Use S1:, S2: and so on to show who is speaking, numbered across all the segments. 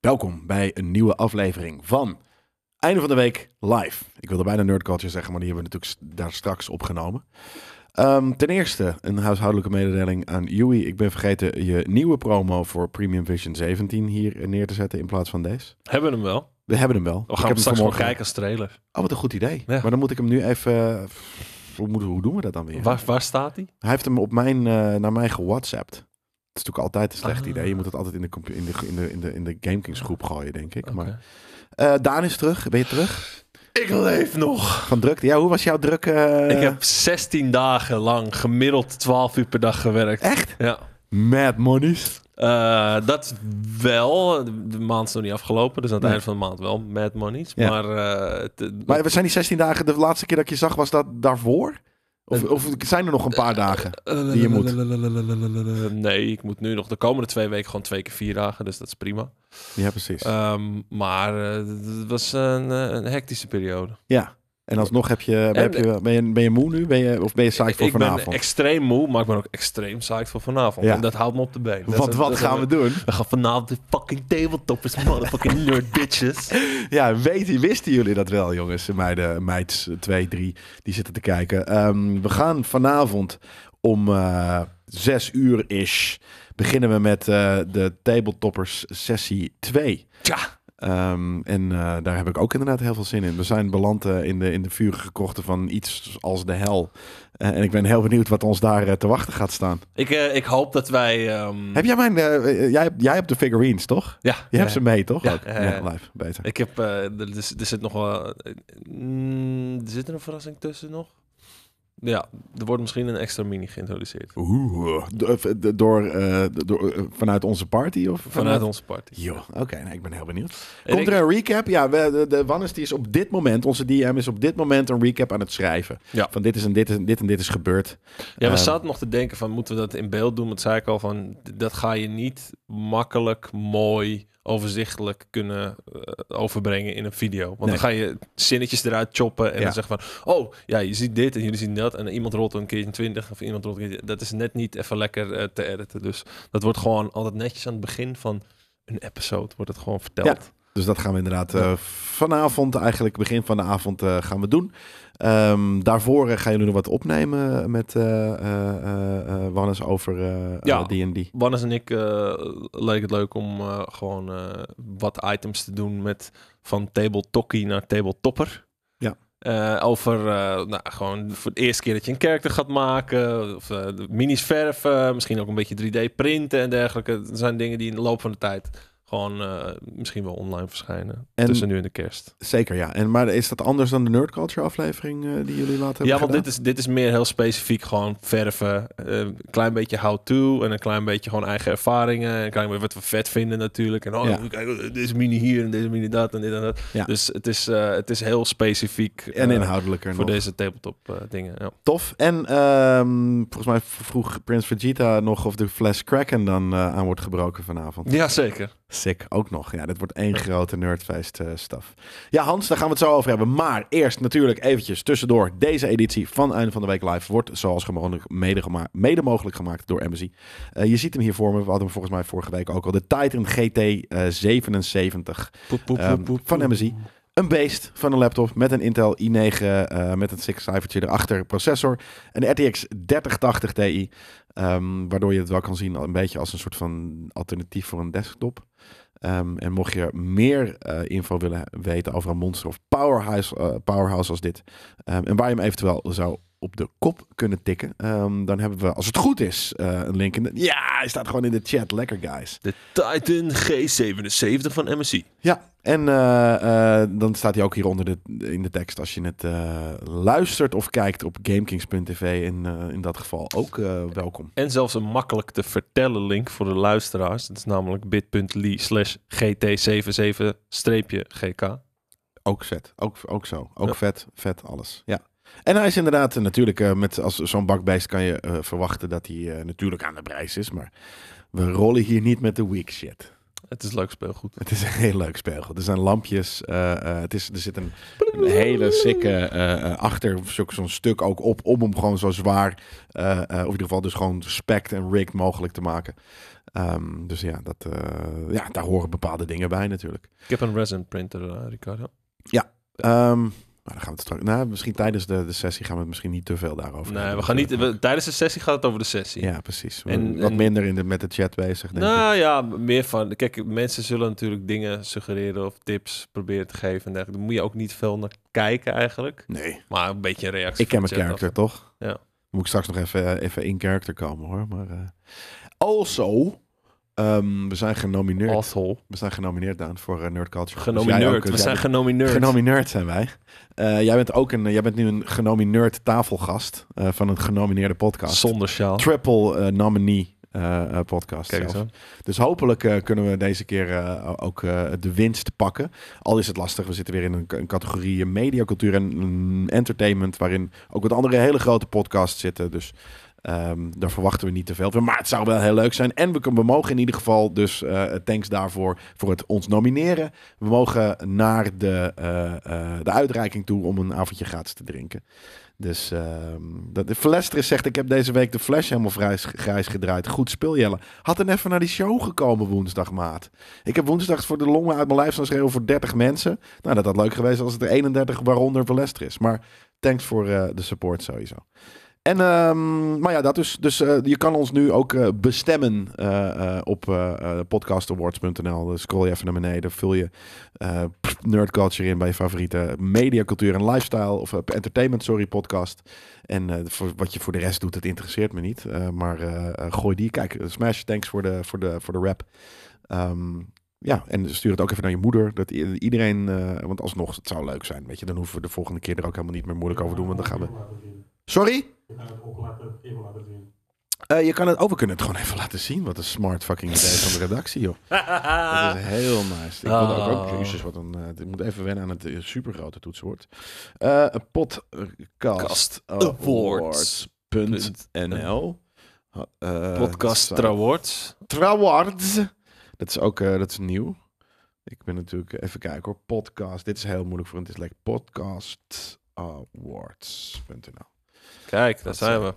S1: Welkom bij een nieuwe aflevering van Einde van de Week Live. Ik wilde bijna Nerd Culture zeggen, maar die hebben we natuurlijk s- daar straks opgenomen. Ehm, ten eerste een huishoudelijke mededeling aan Yui. Ik ben vergeten je nieuwe promo voor Premium Vision 17 hier neer te zetten in plaats van deze.
S2: Hebben we hem wel.
S1: We hebben hem wel.
S2: We
S1: Ik
S2: gaan
S1: heb
S2: hem
S1: hem
S2: straks gewoon
S1: vanmorgen-
S2: kijken als trailer.
S1: Oh, wat een goed idee.
S2: Ja.
S1: Maar dan moet ik hem nu even... eh, Hoe, moeten- hoe doen we dat dan weer?
S2: Waar, waar staat hij?
S1: Hij heeft hem op mijn, eh, naar mij gewhatsappt. Dat is natuurlijk altijd een slecht
S2: Ah.
S1: idee. Je moet het altijd in de, compu- in de, in de, in de, in de GameKings groep gooien, denk ik. Maar,
S2: Oké.
S1: Eh, Daan is terug. Ben je terug?
S2: Ik leef nog.
S1: Van drukte. Ja, hoe was jouw druk? eh,
S2: ik heb 16 dagen lang gemiddeld 12 uur per dag gewerkt.
S1: Echt?
S2: Ja.
S1: Mad monies.
S2: Eh, dat wel. De maand is nog niet afgelopen, dus aan het
S1: Nee.
S2: einde van de maand wel. Mad monies.
S1: Ja.
S2: Maar, eh, het-
S1: Maar we zijn die 16 dagen. De laatste keer dat ik je zag, was dat daarvoor? Of,
S2: Eh,
S1: of zijn er nog een paar dagen? die je moet.
S2: Nee, ik moet nu nog de komende twee weken gewoon twee keer vier dagen, dus dat is prima.
S1: Ja, precies.
S2: Ehm, maar eh, het was een, eh, een hectische periode.
S1: ja. En alsnog heb je, heb je, ben, je, ben je moe nu? Ben je, of ben je saai voor
S2: ik
S1: vanavond?
S2: ben extreem moe, maar ik ben ook extreem psyched voor vanavond.
S1: Ja.
S2: En dat houdt me op de been. Dat
S1: Want
S2: is-
S1: wat
S2: dat is-
S1: gaan we doen?
S2: We gaan vanavond de fucking tabletoppers, motherfucking nerd bitches.
S1: Ja, weet, wisten jullie dat wel, jongens? Meiden, meids, eh, twee, drie, die zitten te kijken. Ehm, we gaan vanavond om eh, zes uur ish. Beginnen we met eh, de Tabletoppers sessie 2.
S2: Tja.
S1: Ehm, en eh, daar heb ik ook inderdaad heel veel zin in. We zijn beland eh, in, de, in de vurige krochten van iets als de hel. Eh, en ik ben heel benieuwd wat ons daar eh, te wachten gaat staan.
S2: Ik, eh, ik hoop dat wij... ehm,
S1: Heb jij mijn. eh, eh, jij, hebt- jij hebt de figurines, toch?
S2: Ja.
S1: Je hebt ze mee, toch?
S2: Ja,
S1: ook?
S2: eh,
S1: ja live. Beter.
S2: Ik heb... eh, er, er zit- er zit nog wel... eh, mm, er zit er een verrassing tussen nog? Ja, er wordt misschien een extra mini geïntroduceerd.
S1: Oeh, do- do- door, eh, door, eh, vanuit onze party of
S2: Vanuit onze party.
S1: Jo, oké, nou, ik ben heel benieuwd.
S2: En
S1: Komt
S2: ik-
S1: er een recap? Ja, we, de, de Wannes die is op dit moment, onze DM is op dit moment een recap aan het schrijven.
S2: Ja.
S1: Van dit is en dit, is, en dit en dit is gebeurd.
S2: Ja, we
S1: Ehm.
S2: zaten nog te denken van, moeten we dat in beeld doen? Want zei ik al van, d- dat ga je niet makkelijk, mooi, overzichtelijk kunnen eh, overbrengen in een video. Want
S1: Nee.
S2: dan ga je zinnetjes eruit choppen en
S1: Ja.
S2: dan zeggen van, oh, ja, je ziet dit en jullie zien dat. En iemand rolt een keertje 20 of iemand rolt een keertje... Dat is net niet even lekker eh, te editen. Dus dat wordt gewoon altijd netjes aan het begin van een episode, wordt het gewoon verteld.
S1: Dus dat gaan we inderdaad eh, vanavond, eigenlijk begin van de avond, eh, gaan we doen. Ehm, daarvoor eh, gaan jullie nog wat opnemen met eh, eh, eh, eh, Wannes over eh,
S2: Ja.
S1: eh, D&D.
S2: Wannes en ik eh, leek het leuk om eh, gewoon eh, wat items te doen met van table tokkie naar table topper.
S1: Ja.
S2: Eh, over eh, nou, gewoon voor de eerste keer dat je een karakter gaat maken. Of eh, de minis verven. Misschien ook een beetje 3D printen en dergelijke. Dat zijn dingen die in de loop van de tijd gewoon eh, misschien wel online verschijnen.
S1: En-
S2: tussen nu en de kerst.
S1: Zeker, ja. En, maar is dat anders dan de Nerd Culture aflevering eh, die jullie laten hebben
S2: Ja, want
S1: gedaan?
S2: dit is, dit is meer heel specifiek gewoon verven. eh, Een klein beetje how-to en een klein beetje gewoon eigen ervaringen. en Een klein beetje wat we vet vinden natuurlijk. En oh,
S1: Ja.
S2: kijk, deze mini hier en deze mini dat en dit en dat.
S1: Ja.
S2: Dus het is, eh, het is heel specifiek
S1: En
S2: eh,
S1: inhoudelijker
S2: voor
S1: nog.
S2: deze tabletop eh, dingen. Ja.
S1: Tof. En ehm, volgens mij v- vroeg Prins Vegeta nog of de Flash Kraken dan eh, aan wordt gebroken vanavond.
S2: Jazeker.
S1: Sick, ook nog. Ja, dat wordt één grote nerdfeest eh staf. Ja, Hans, daar gaan we het zo over hebben. Maar eerst natuurlijk eventjes tussendoor. Deze editie van Einde van de Week Live wordt zoals gewoonlijk mede, gema- mede mogelijk gemaakt door Embassy. Eh, je ziet hem hier voor me. We hadden hem volgens mij vorige week ook al. De Titan GT eh, 77
S2: Poep, poep,
S1: Ehm,
S2: poep, poep,
S1: van
S2: poep.
S1: MSI. Een beest van een laptop met een Intel i9 eh, met een 6-cijfertje erachter processor. Een RTX 3080 Ti, ehm, waardoor je het wel kan zien een beetje als een soort van alternatief voor een desktop. Ehm, en mocht je meer eh, info willen weten over een monster of powerhouse, eh, powerhouse als dit, ehm, en waar je hem eventueel zou op de kop kunnen tikken, ehm, dan hebben we, als het goed is, eh, een link in de... Ja, hij staat gewoon in de chat. Lekker, guys.
S2: De Titan G77 van MSI.
S1: Ja, en eh, eh, dan staat hij ook hieronder de, in de tekst als je het eh, luistert of kijkt op GameKings.tv. En eh, in dat geval ook eh, welkom.
S2: En zelfs een makkelijk te vertellen link voor de luisteraars. Dat is namelijk bit.ly slash gt77-gk.
S1: Ook vet. Ook, ook zo. Ook
S2: Ja.
S1: vet. Vet alles. Ja. En hij is inderdaad eh, natuurlijk, eh, met als zo'n bakbeest kan je eh, verwachten dat hij eh, natuurlijk aan de prijs is. Maar we rollen hier niet met de weak shit.
S2: Het is leuk speelgoed.
S1: Het is een heel leuk speel. Er zijn lampjes. eh, eh, het is, er zit een, een hele sikke eh, eh, achter zo- zo'n stuk ook op om hem gewoon zo zwaar, eh, eh, of in ieder geval dus gewoon spect en rigged mogelijk te maken. Ehm, dus ja, dat, eh, ja, daar horen bepaalde dingen bij natuurlijk.
S2: Ik heb een resin printer, eh, Ricardo.
S1: Ehm, maar dan gaan we het straks. Nou, misschien tijdens de, de sessie gaan we het misschien niet te veel daarover
S2: nee,
S1: hebben.
S2: we gaan niet, we- tijdens de sessie gaat het over de sessie.
S1: Ja, precies.
S2: En-
S1: Wat
S2: en-
S1: minder in de, met de chat bezig, denk ik.
S2: nou ja, meer van. Kijk, mensen zullen natuurlijk dingen suggereren of tips proberen te geven en dergelijke. Daar moet je ook niet veel naar kijken eigenlijk.
S1: Nee,
S2: Maar een beetje een reactie.
S1: ik ken
S2: van
S1: mijn
S2: de chat
S1: character
S2: af.
S1: toch?
S2: Ja.
S1: Moet ik straks nog even, eh, even in character komen hoor. Maar, eh. Also, ehm, we zijn genomineerd.
S2: Asshole.
S1: We zijn genomineerd Daan voor eh, Nerd Culture. Dus jij ook, eh,
S2: Oh. Genomineerd. We
S1: jij
S2: zijn
S1: bent-
S2: genomineerd.
S1: genomineerd zijn wij. Eh, jij bent ook een, jij bent nu een genomineerd tafelgast eh, van een genomineerde podcast.
S2: Zonder sjaal.
S1: Triple eh, nominee eh, eh, podcast.
S2: Kijk eens
S1: zelfs.
S2: aan.
S1: Dus hopelijk eh, kunnen we deze keer eh, ook eh, de winst pakken. Al is het lastig, we zitten weer in een, k- een categorie eh, media, cultuur en mm, entertainment, waarin ook wat andere hele grote podcasts zitten. Dus ehm, daar verwachten we niet te veel van. Maar het zou wel heel leuk zijn. En we, kunnen- we mogen in ieder geval, dus eh, thanks daarvoor, voor het ons nomineren. We mogen naar de, eh, eh, de uitreiking toe om een avondje gratis te drinken. Dus ehm dat, Verlesteren zegt, ik heb deze week de Flash helemaal grijs, grijs gedraaid. Goed spul, Jelle. Had er even naar die show gekomen woensdag, maat. Ik heb woensdag voor de longen uit mijn lijf staan schreeuwen voor 30 mensen. Nou, dat had leuk geweest als het er 31 waaronder Verlester is. Maar thanks voor eh, de support sowieso. En, ehm, maar ja, dat dus. Dus eh, je kan ons nu ook eh, bestemmen eh, eh, op eh, eh, podcastawards.nl. Dus scroll je even naar beneden, vul je eh, pff, nerd culture in bij je favoriete media, cultuur en lifestyle. Of eh, entertainment, sorry, podcast. En eh, voor, wat je voor de rest doet, het interesseert me niet. Eh, maar eh, eh, gooi die. Kijk, eh, smash, thanks voor de, voor de, voor de rap. Ehm, ja, en stuur het ook even naar je moeder. Dat i- iedereen, eh, want alsnog, het zou leuk zijn. Weet je, dan hoeven we de volgende keer er ook helemaal niet meer moeilijk over doen. Want dan gaan we... Sorry? Eh, je kan het over kunnen het gewoon even laten zien. Wat een smart fucking idee van de redactie, joh. Dat is heel nice. Ik wilde ook, ook
S2: Ah. Oh.
S1: jezus, wat een. eh, ik moet even wennen aan het eh, supergrote toetsenwoord. Eh podcast
S2: Cast
S1: Oh,
S2: Awards.
S1: awards.nl Eh,
S2: Podcast
S1: site-
S2: Awards.
S1: Trawards. Dat is ook eh, dat is nieuw. Ik ben natuurlijk eh, even kijken hoor. Podcast. Dit is heel moeilijk voor een dislike. Podcastawards.nl.
S2: Kijk, daar
S1: Dat
S2: zijn we.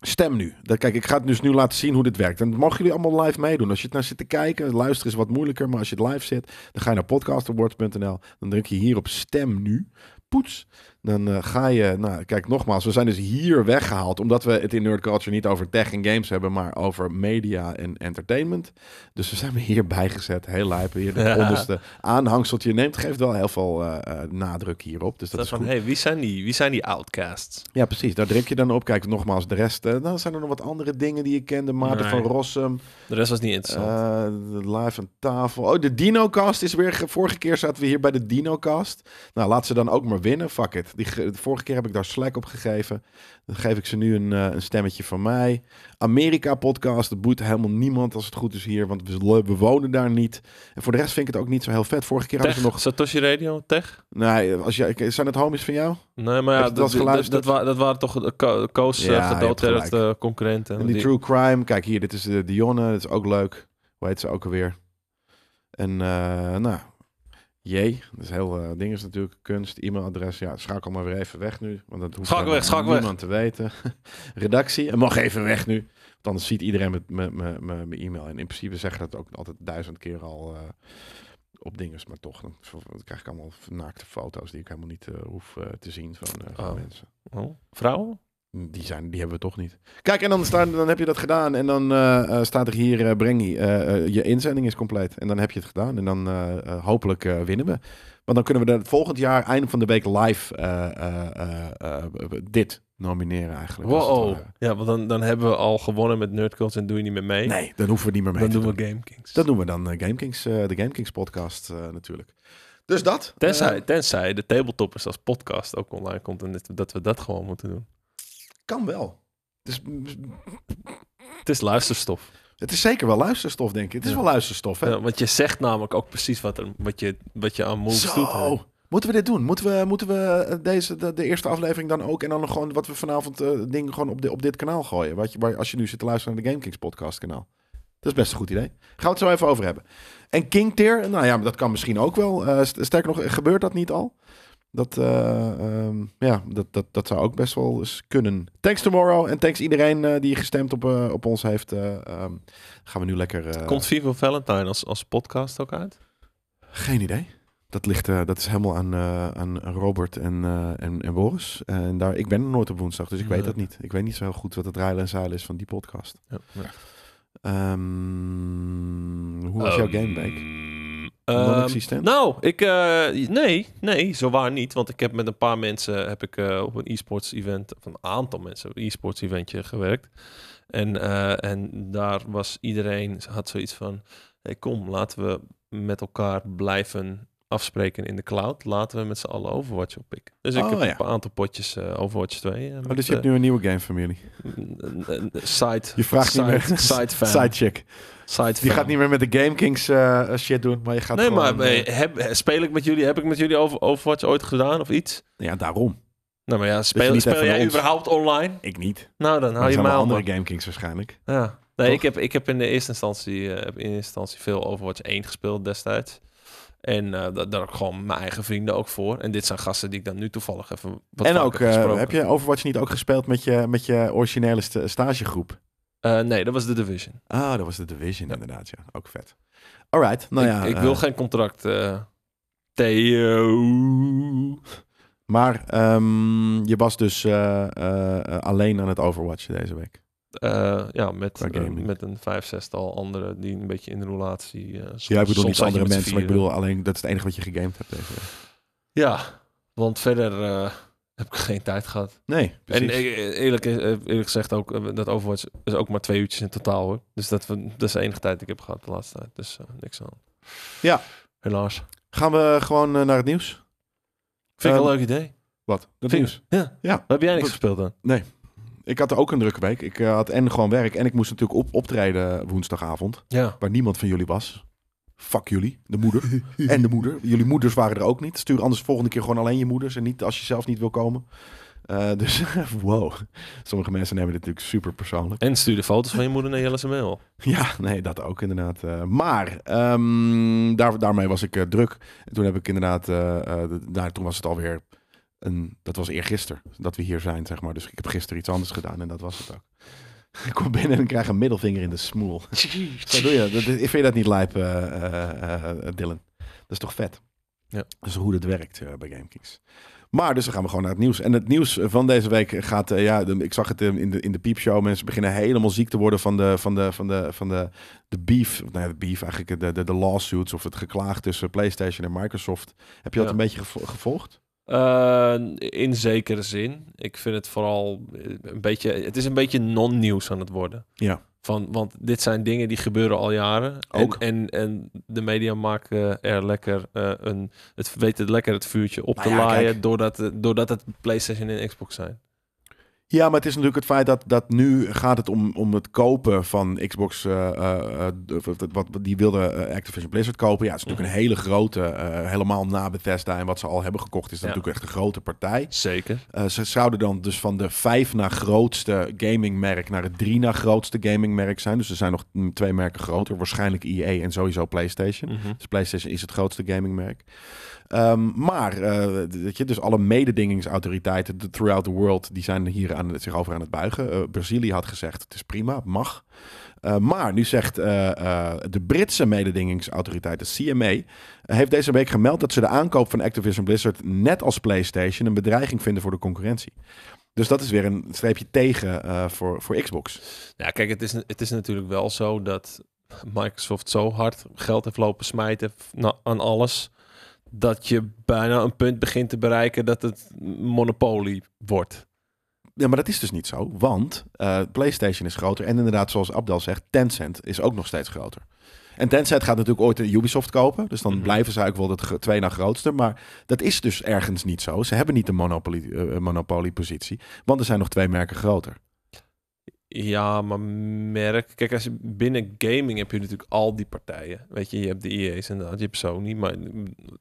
S1: Stem nu. Dat, kijk, ik ga het dus nu laten zien hoe dit werkt. En dat mogen jullie allemaal live meedoen. Als je het nou zit te kijken, luisteren is wat moeilijker. Maar als je het live zit, dan ga je naar podcastawards.nl. Dan druk je hier op stem nu. Poets. Dan eh, ga je... Nou, kijk, nogmaals. We zijn dus hier weggehaald. Omdat we het in Nerd Culture niet over tech en games hebben. Maar over media en entertainment. Dus we zijn hier bijgezet. Heel lijp. Hier het
S2: Ja.
S1: onderste aanhangseltje neemt. Geeft wel heel veel eh, eh, nadruk hierop. Dus dat,
S2: Dat
S1: is goed.
S2: van, hey, wie zijn die? Wie zijn die outcasts?
S1: Ja, precies. Daar druk je dan op. Kijk, nogmaals, de rest. eh, dan zijn er nog wat andere dingen die je kende. Maarten
S2: Nee.
S1: van Rossum,
S2: De rest was niet
S1: eh,
S2: interessant.
S1: de live aan tafel. Oh, de Dinocast is weer... ge- Vorige keer zaten we hier bij de Dinocast. Nou, laat ze dan ook maar winnen. Fuck it. Die, ge- de vorige keer heb ik daar slack op gegeven. Dan geef ik ze nu een, eh, een stemmetje van mij. Amerika-podcast. Dat boeit helemaal niemand als het goed is hier. Want we, we wonen daar niet. En voor de rest vind ik het ook niet zo heel vet. Vorige keer
S2: tech,
S1: hadden ze nog...
S2: Satoshi Radio, tech?
S1: Nee, als jij zijn het homies van jou?
S2: Nee, maar
S1: Heb
S2: ja,
S1: je dat
S2: dat, dat,
S1: geluisterd?
S2: dat, wa- dat waren toch de co- Koos
S1: Ja, je
S2: ja,
S1: hebt
S2: gedoodterrest
S1: gelijk.
S2: eh, concurrenten.
S1: En die,
S2: Die-
S1: True Crime. Kijk hier, dit is de Dionne. Dat is ook leuk. Hoe heet ze ook alweer? En eh, nou, jee. Dat is heel eh ding is natuurlijk kunst, e-mailadres. Ja, schakel maar weer even weg nu. Want dat hoeft
S2: Schakel
S1: helemaal
S2: weg, schakel
S1: niemand te weten. Redactie. En mag even weg nu. Want anders ziet iedereen met mijn- mijn mijn- mijn e-mail. En in principe zeggen dat ook altijd duizend keer al... eh, op dingen, maar toch. Dan dan krijg ik allemaal naakte foto's die ik helemaal niet eh, hoef eh, te zien van, eh, van
S2: Oh.
S1: mensen.
S2: Oh, vrouwen?
S1: Die, zijn, die hebben we toch niet. Kijk, en dan, staan, dan heb je dat gedaan. En dan eh, eh, staat er hier, eh, breng je, eh, eh, je inzending is compleet. En dan heb je het gedaan. En dan eh, eh, hopelijk eh, winnen we. Want dan kunnen we dat volgend jaar, einde van de week, live eh, eh, eh, eh, dit nomineren eigenlijk. als het
S2: Wow.
S1: ware.
S2: Ja, want dan, dan hebben we al gewonnen met Nerdcult en doe je niet meer mee.
S1: eh, Nee, dan hoeven we niet meer mee
S2: dan
S1: te
S2: doen
S1: doen.
S2: we Game Kings.
S1: Dat doen we dan, eh, Game Kings, eh, de GameKings podcast eh, natuurlijk. Dus dat.
S2: tenzij,
S1: eh,
S2: tenzij de tabletoppers als podcast ook online komt en dit- dat we dat gewoon moeten doen.
S1: kan wel. Het is,
S2: Het is luisterstof.
S1: het is zeker wel luisterstof, denk ik. Het is
S2: Ja.
S1: wel luisterstof, hè?
S2: Ja, want je zegt namelijk ook precies wat, er, wat, je, wat je aan moves doet. hè.
S1: Zo. Moeten we dit doen? Moeten we, moeten we eh, deze, de, de eerste aflevering dan ook en dan nog gewoon wat we vanavond eh dingen gewoon op, di- op dit kanaal gooien? Wat je, waar, als je nu zit te luisteren naar de GameKings podcast kanaal. Dat is best een goed idee. Gaan we het zo even over hebben. En King Tier, nou ja, maar dat kan misschien ook wel. Eh, st- sterker nog, gebeurt dat niet al? Dat, eh, ehm, ja, dat, dat, dat zou ook best wel eens kunnen. Thanks Tomorrow en thanks iedereen eh, die gestemd op, eh, op ons heeft. eh, ehm, gaan we nu lekker... eh,
S2: Komt Viva Valentine als, als podcast ook uit?
S1: Geen idee. Dat, ligt, eh, dat is helemaal aan, eh, aan Robert en, eh, en, en Boris. En daar, ik ben er nooit op woensdag, dus ik weet
S2: Nee.
S1: dat niet. Ik weet niet zo heel goed wat het rijlen en zeilen is van die podcast.
S2: Ja, ja.
S1: Ehm, hoe was jouw
S2: Ehm,
S1: gamebank?
S2: ehm,
S1: Non-existent?
S2: nou, ik... eh, nee, nee, zowaar niet. Want ik heb met een paar mensen heb ik, eh, op een e-sports event... of een aantal mensen op een e-sports eventje gewerkt. En, eh, en daar was iedereen... had zoiets van... Hey, kom, laten we met elkaar blijven afspreken in de cloud. Laten we met z'n allen Overwatch oppikken. Dus ik
S1: Oh,
S2: heb
S1: ja.
S2: op een aantal potjes eh, Overwatch 2. eh,
S1: Oh,
S2: met,
S1: dus je hebt
S2: eh,
S1: nu een nieuwe gamefamilie.
S2: een- een- een Side...
S1: Je vraagt niet
S2: side,
S1: meer.
S2: Side fan.
S1: Sidechick.
S2: side
S1: Die
S2: fan.
S1: gaat niet meer met de Game Kings eh, shit doen, maar je gaat
S2: nee,
S1: gewoon...
S2: maar
S1: eh,
S2: eh, heb, speel ik met jullie? Heb ik met jullie over, Overwatch ooit gedaan of iets?
S1: ja, daarom.
S2: Nou, maar ja,
S1: je
S2: speel,
S1: Dus niet
S2: speel
S1: even naar
S2: jij
S1: ons-
S2: überhaupt online?
S1: Ik niet.
S2: Nou, dan
S1: Maar
S2: hou
S1: er
S2: je
S1: zijn
S2: mij
S1: wel
S2: al.
S1: andere Game Kings waarschijnlijk.
S2: Ja. Nee,
S1: Toch?
S2: ik heb, ik heb in de eerste instantie, eh, heb in eerste instantie veel Overwatch 1 gespeeld destijds. En eh, da- daar heb ik gewoon mijn eigen vrienden ook voor. En dit zijn gasten die ik dan nu toevallig even wat
S1: en
S2: vaker
S1: ook, eh,
S2: gesproken
S1: heb je Overwatch niet ook gespeeld met je, met je originele sta- stagegroep?
S2: Eh, nee, dat was de Division.
S1: Ah, dat was de Division
S2: Ja.
S1: inderdaad, ja. Ook vet. Alright, nou
S2: ik
S1: ja.
S2: ik
S1: eh,
S2: wil geen contract. eh, Theo.
S1: Maar ehm, je was dus eh, eh, eh, alleen aan het Overwatchen deze week.
S2: Eh, ja, met,
S1: Qua
S2: eh,
S1: gaming.
S2: met een vijf, zestal anderen die een beetje in de relatie... eh, soms-
S1: Ja, ik
S2: soms
S1: bedoel niet
S2: had je
S1: andere
S2: met z'n
S1: mensen, maar ik
S2: vieren.
S1: bedoel alleen, dat is het enige wat je gegamed hebt deze week.
S2: Ja, want verder eh, heb ik geen tijd gehad.
S1: Nee, precies.
S2: En eh, eerlijk, eh, eerlijk gezegd ook, eh, dat Overwatch is ook maar twee uurtjes in totaal hoor. Dus dat, we- dat is de enige tijd die ik heb gehad de laatste tijd. Dus eh, niks aan.
S1: Ja.
S2: Helaas.
S1: Gaan we gewoon eh, naar het nieuws?
S2: Vind ik
S1: Ehm,
S2: een leuk idee.
S1: Wat? Dat
S2: Vind-
S1: nieuws?
S2: Ja.
S1: Ja.
S2: Wat heb jij niks
S1: Wat-
S2: gespeeld dan?
S1: Ik had ook een drukke week. Ik eh, had en gewoon werk en ik moest natuurlijk op optreden woensdagavond,
S2: Ja.
S1: waar niemand van jullie was. Fuck jullie, de moeder en de moeder. Jullie moeders waren er ook niet. Stuur anders volgende keer gewoon alleen je moeders en niet als je zelf niet wil komen. Eh, dus wow, sommige mensen nemen dit natuurlijk super persoonlijk.
S2: En stuur de foto's van je moeder naar Jelle's mail.
S1: Ja, nee, dat ook inderdaad. Eh, maar ehm, daar, daarmee was ik eh, druk. En toen heb ik inderdaad, eh, eh, de- nou, toen was het alweer, een, dat was eergisteren dat we hier zijn, zeg maar. Dus ik heb gisteren iets anders gedaan en dat was het ook. Ik kom binnen en ik krijg een middelvinger in de smoel. Zo doe je. Dat, dat- vind je dat niet lijp, eh, eh, eh, Dylan? Dat is toch vet?
S2: Ja.
S1: Dat is hoe dat werkt eh, bij GameKings. Maar dus dan gaan we gewoon naar het nieuws. En het nieuws van deze week gaat... eh, ja, de- ik zag het eh, in de, in de piepshow. Mensen beginnen helemaal ziek te worden van de, van de, van de, van de, de beef. Of, nou ja, de beef eigenlijk. De, de, de lawsuits of het geklaag tussen PlayStation en Microsoft. Heb je dat
S2: Ja.
S1: een beetje gevo- gevolgd?
S2: Eh, in zekere zin. Ik vind het vooral eh, een beetje. Het is een beetje non-nieuws aan het worden.
S1: Ja.
S2: Van, want dit zijn dingen die gebeuren al jaren.
S1: Ook.
S2: En, en, en de media maken er lekker eh, een. Het weten lekker het vuurtje op
S1: Nou
S2: te
S1: ja,
S2: laaien.
S1: kijk.
S2: Doordat, het- doordat het PlayStation en Xbox zijn.
S1: Ja, maar het is natuurlijk het feit dat, dat nu gaat het om, om het kopen van Xbox. eh, eh, eh, of dat- wat, wat die wilde eh, Activision Blizzard kopen. Ja, het is natuurlijk een hele grote, eh, helemaal na Bethesda en wat ze al hebben gekocht, is dat
S2: Ja.
S1: natuurlijk echt een grote partij.
S2: Zeker.
S1: Eh, ze zouden dan dus van de vijf na grootste gamingmerk naar het drie na grootste gamingmerk zijn. Dus er zijn nog mm, twee merken groter, waarschijnlijk EA en sowieso PlayStation.
S2: Mhm.
S1: Dus PlayStation is het grootste gamingmerk. Ehm, maar, eh, weet je, dus alle mededingingsautoriteiten de- throughout the world... die zijn hier aan, het- zich over aan het buigen. Eh, Brazilië had gezegd, het is prima, het mag. Eh, maar nu zegt eh, eh, de Britse mededingingsautoriteit, de CMA... eh, heeft deze week gemeld dat ze de aankoop van Activision Blizzard... net als PlayStation een bedreiging vinden voor de concurrentie. Dus dat is weer een streepje tegen eh, voor, voor Xbox.
S2: Ja, kijk, het is, het is natuurlijk wel zo dat Microsoft zo hard geld heeft lopen smijten f- na- aan alles. Dat je bijna een punt begint te bereiken dat het monopolie wordt.
S1: Ja, maar dat is dus niet zo, want eh, PlayStation is groter. En inderdaad, zoals Abdel zegt, Tencent is ook nog steeds groter. En Tencent gaat natuurlijk ooit de Ubisoft kopen. Dus dan
S2: Mhm.
S1: blijven ze eigenlijk wel de gro- twee na grootste. Maar dat is dus ergens niet zo. Ze hebben niet een monopolie, eh, monopoliepositie. Want er zijn nog twee merken groter.
S2: Ja, maar merk. Kijk, als je binnen gaming heb je natuurlijk E al die partijen. Weet je, je hebt de EA's en dat, je hebt Sony. Maar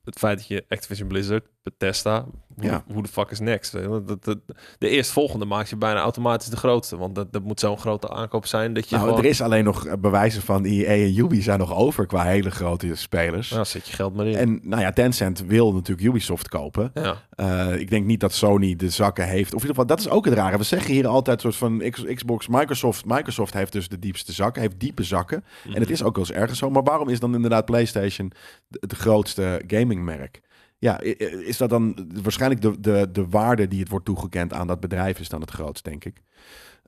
S2: het feit dat je Activision Blizzard Bethesda, hoe,
S1: Ja.
S2: hoe de fuck is next? Weet je wel? Dat, dat, de eerstvolgende maakt je bijna automatisch de grootste. Want dat, dat moet zo'n grote aankoop zijn dat je
S1: Nou,
S2: gewoon...
S1: er is alleen nog eh, bewijzen van EA en Ubi zijn nog over qua hele grote spelers.
S2: Nou, zet je geld maar in.
S1: En nou ja, Tencent wil natuurlijk Ubisoft kopen.
S2: ja.
S1: Eh, ik denk niet dat Sony de zakken heeft. Of in ieder geval, dat is ook het rare. We zeggen hier altijd soort van X- Xbox, Microsoft. Microsoft heeft dus de diepste zakken, heeft diepe zakken. En het is ook wel eens ergens zo. Maar waarom is dan inderdaad PlayStation de- het grootste gamingmerk? Ja, i- i- is dat dan waarschijnlijk de, de, de waarde die het wordt toegekend aan dat bedrijf is dan het grootst, denk ik.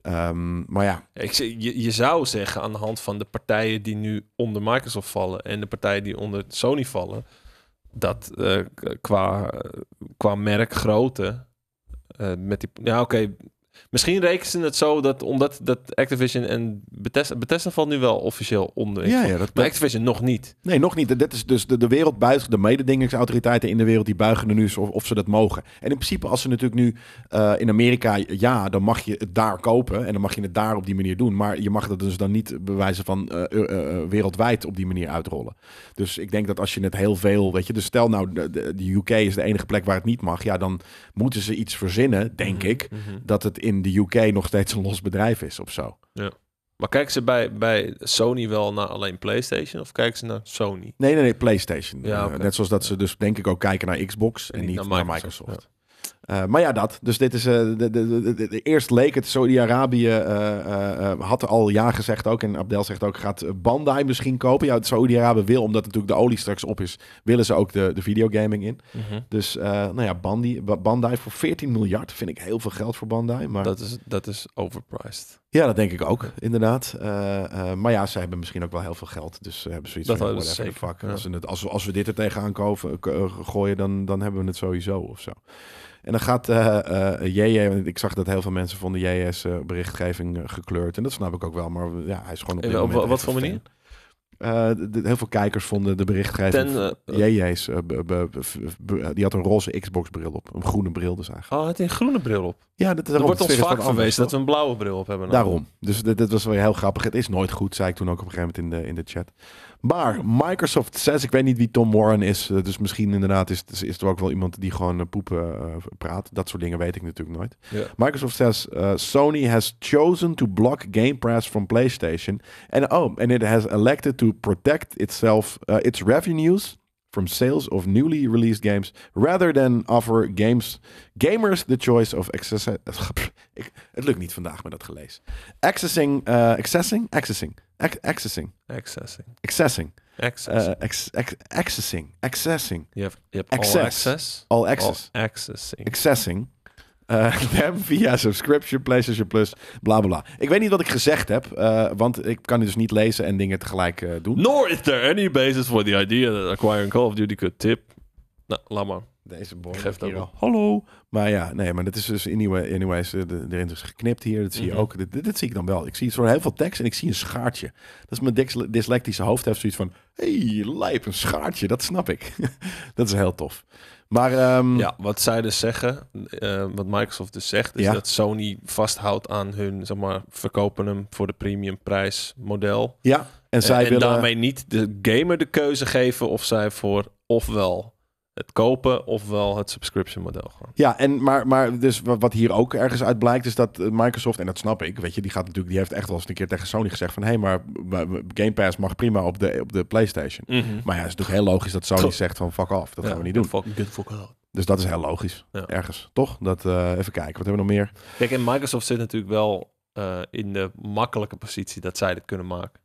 S1: Ehm, maar ja,
S2: Ik, zeg- je, je zou zeggen aan de hand van de partijen die nu onder Microsoft vallen en de partijen die onder Sony vallen, dat eh, k- qua, eh, qua merkgrootte eh, met die... Ja, oké. Misschien rekenen ze het zo dat omdat dat Activision en Bethesda, Bethesda valt nu wel officieel onder.
S1: ja, ja dat,
S2: Maar
S1: dat-
S2: Activision nog niet.
S1: nee, nog niet. Dit is dus de, de wereld buigt, de mededingingsautoriteiten in de wereld, die buigen er nu eens of, of ze dat mogen. En in principe, als ze natuurlijk nu eh, in Amerika, ja, dan mag je het daar kopen en dan mag je het daar op die manier doen. Maar je mag dat dus dan niet bewijzen van eh, eh, eh, wereldwijd op die manier uitrollen. Dus ik denk dat als je het heel veel, weet je, dus stel nou, de, de- de UK is de enige plek waar het niet mag, ja, dan moeten ze iets verzinnen, denk ik,
S2: Mhm.
S1: dat het in de UK nog steeds een los bedrijf is of zo.
S2: Maar kijken ze bij, bij Sony wel naar alleen PlayStation of kijken ze naar Sony?
S1: Nee, nee, nee, PlayStation.
S2: Ja,
S1: Eh,
S2: oké.
S1: net zoals dat ze dus denk ik ook kijken naar Xbox en, niet naar Microsoft. Eh, maar ja, dat. Dus dit is. eh, de, de, de, de- de- eerst leek het Saudi-Arabië. eh, eh, eh, had al ja gezegd ook. En Abdel zegt ook. Gaat Bandai misschien kopen? Ja, het Saudi-Arabië wil. Omdat natuurlijk de olie straks op is. Willen ze ook de, de videogaming in.
S2: Mhm.
S1: Dus eh, nou ja, Bandai, Ba- Bandai voor 14 miljard. Vind ik heel veel geld voor Bandai. Maar
S2: Dat, is, dat is overpriced.
S1: ja, dat denk ik ook. Inderdaad. Eh, eh, maar ja, ze hebben misschien ook wel heel veel geld. Dus ze hebben zoiets
S2: Dat
S1: van.
S2: hebben ze
S1: whatever the
S2: zeker,
S1: fuck.
S2: ja.
S1: Als, we het, als, we, als we dit er tegenaan kopen, k- eh, gooien, dan, dan hebben we het sowieso of zo. En dan gaat eh, eh, JJ, want ik zag dat heel veel mensen vonden JJ's eh, berichtgeving eh, gekleurd. En dat snap ik ook wel, maar ja, hij is gewoon op
S2: En
S1: dit
S2: op
S1: moment
S2: wa- wat
S1: echt
S2: voor
S1: een
S2: manier?
S1: fan. Eh, de- de- heel veel kijkers vonden de berichtgeving.
S2: Ten, eh,
S1: JJ's, eh, be- be- be- be- die had een roze Xbox-bril op. Een groene bril dus eigenlijk.
S2: Oh, hij had een groene bril op.
S1: Ja, dat,
S2: Er
S1: daarom,
S2: wordt
S1: het
S2: ons
S1: is weer
S2: vaak
S1: wat anders,
S2: verwezen
S1: toch?
S2: dat we een blauwe bril op hebben.
S1: Daarom. Dus dit, dit was wel heel grappig. Het is nooit goed, zei ik toen ook op een gegeven moment in de, in de chat. Maar Microsoft 6, ik weet niet wie Tom Warren is. eh, Dus misschien inderdaad is, is, is er ook wel iemand die gewoon eh, poepen eh, praat. Dat soort dingen weet ik natuurlijk nooit.
S2: Ja.
S1: Microsoft says eh, Sony has chosen to block Game Pass from PlayStation. And oh, and it has elected to protect itself, eh, its revenues from sales of newly released games, rather than offer games gamers the choice of access. Ik- Het lukt niet vandaag met dat gelees. Accessing, eh, accessing, accessing, Ac- accessing,
S2: Accessing.
S1: accessing,
S2: Access.
S1: eh, ex- ex- accessing, accessing,
S2: je hebt, je hebt all
S1: access.
S2: access.
S1: all access.
S2: All accessing.
S1: accessing. eh, them via subscription, PlayStation Plus, bla bla bla. Ik weet niet wat ik gezegd heb, eh, want ik kan dus niet lezen en dingen tegelijk eh, doen.
S2: Nor is there any basis for the idea that acquiring Call of Duty could tip. Nou, laat maar.
S1: Deze boy
S2: Geeft
S1: hier
S2: ook
S1: al. Hallo. Maar ja, nee, maar dat is dus anyway, anyways, eh, de- erin is geknipt hier. Dat zie je
S2: Mhm.
S1: ook. Dit, dit, dit zie ik dan wel. Ik zie soort heel veel tekst en ik zie een schaartje. Dat is mijn dys- dyslectische hoofd heeft zoiets van, hey, lijp, een schaartje. Dat snap ik. dat is heel tof. Maar ehm,
S2: Ja, wat zij dus zeggen, eh, wat Microsoft dus zegt, is
S1: Ja.
S2: dat Sony vasthoudt aan hun, zeg maar, verkopen hem voor de premium prijs model.
S1: ja, en, zij
S2: en
S1: willen...
S2: daarmee niet de gamer de keuze geven of zij voor ofwel het kopen ofwel het subscription model gaan.
S1: Ja, en maar, maar dus wat wat hier ook ergens uit blijkt, is dat eh, Microsoft, en dat snap ik, weet je, die gaat natuurlijk, die heeft echt wel eens een keer tegen Sony gezegd van hé, hey, maar w- w- Game Pass mag prima op de, op de PlayStation.
S2: Mhm.
S1: Maar ja, het is natuurlijk heel logisch dat Sony
S2: Toch.
S1: zegt van fuck off, dat gaan we niet doen.
S2: Good fuck out.
S1: Dus dat is heel logisch,
S2: Ja.
S1: ergens, toch? Dat, eh, even kijken, wat hebben we nog meer?
S2: Kijk, en Microsoft zit natuurlijk wel eh, in de makkelijke positie dat zij dit kunnen maken.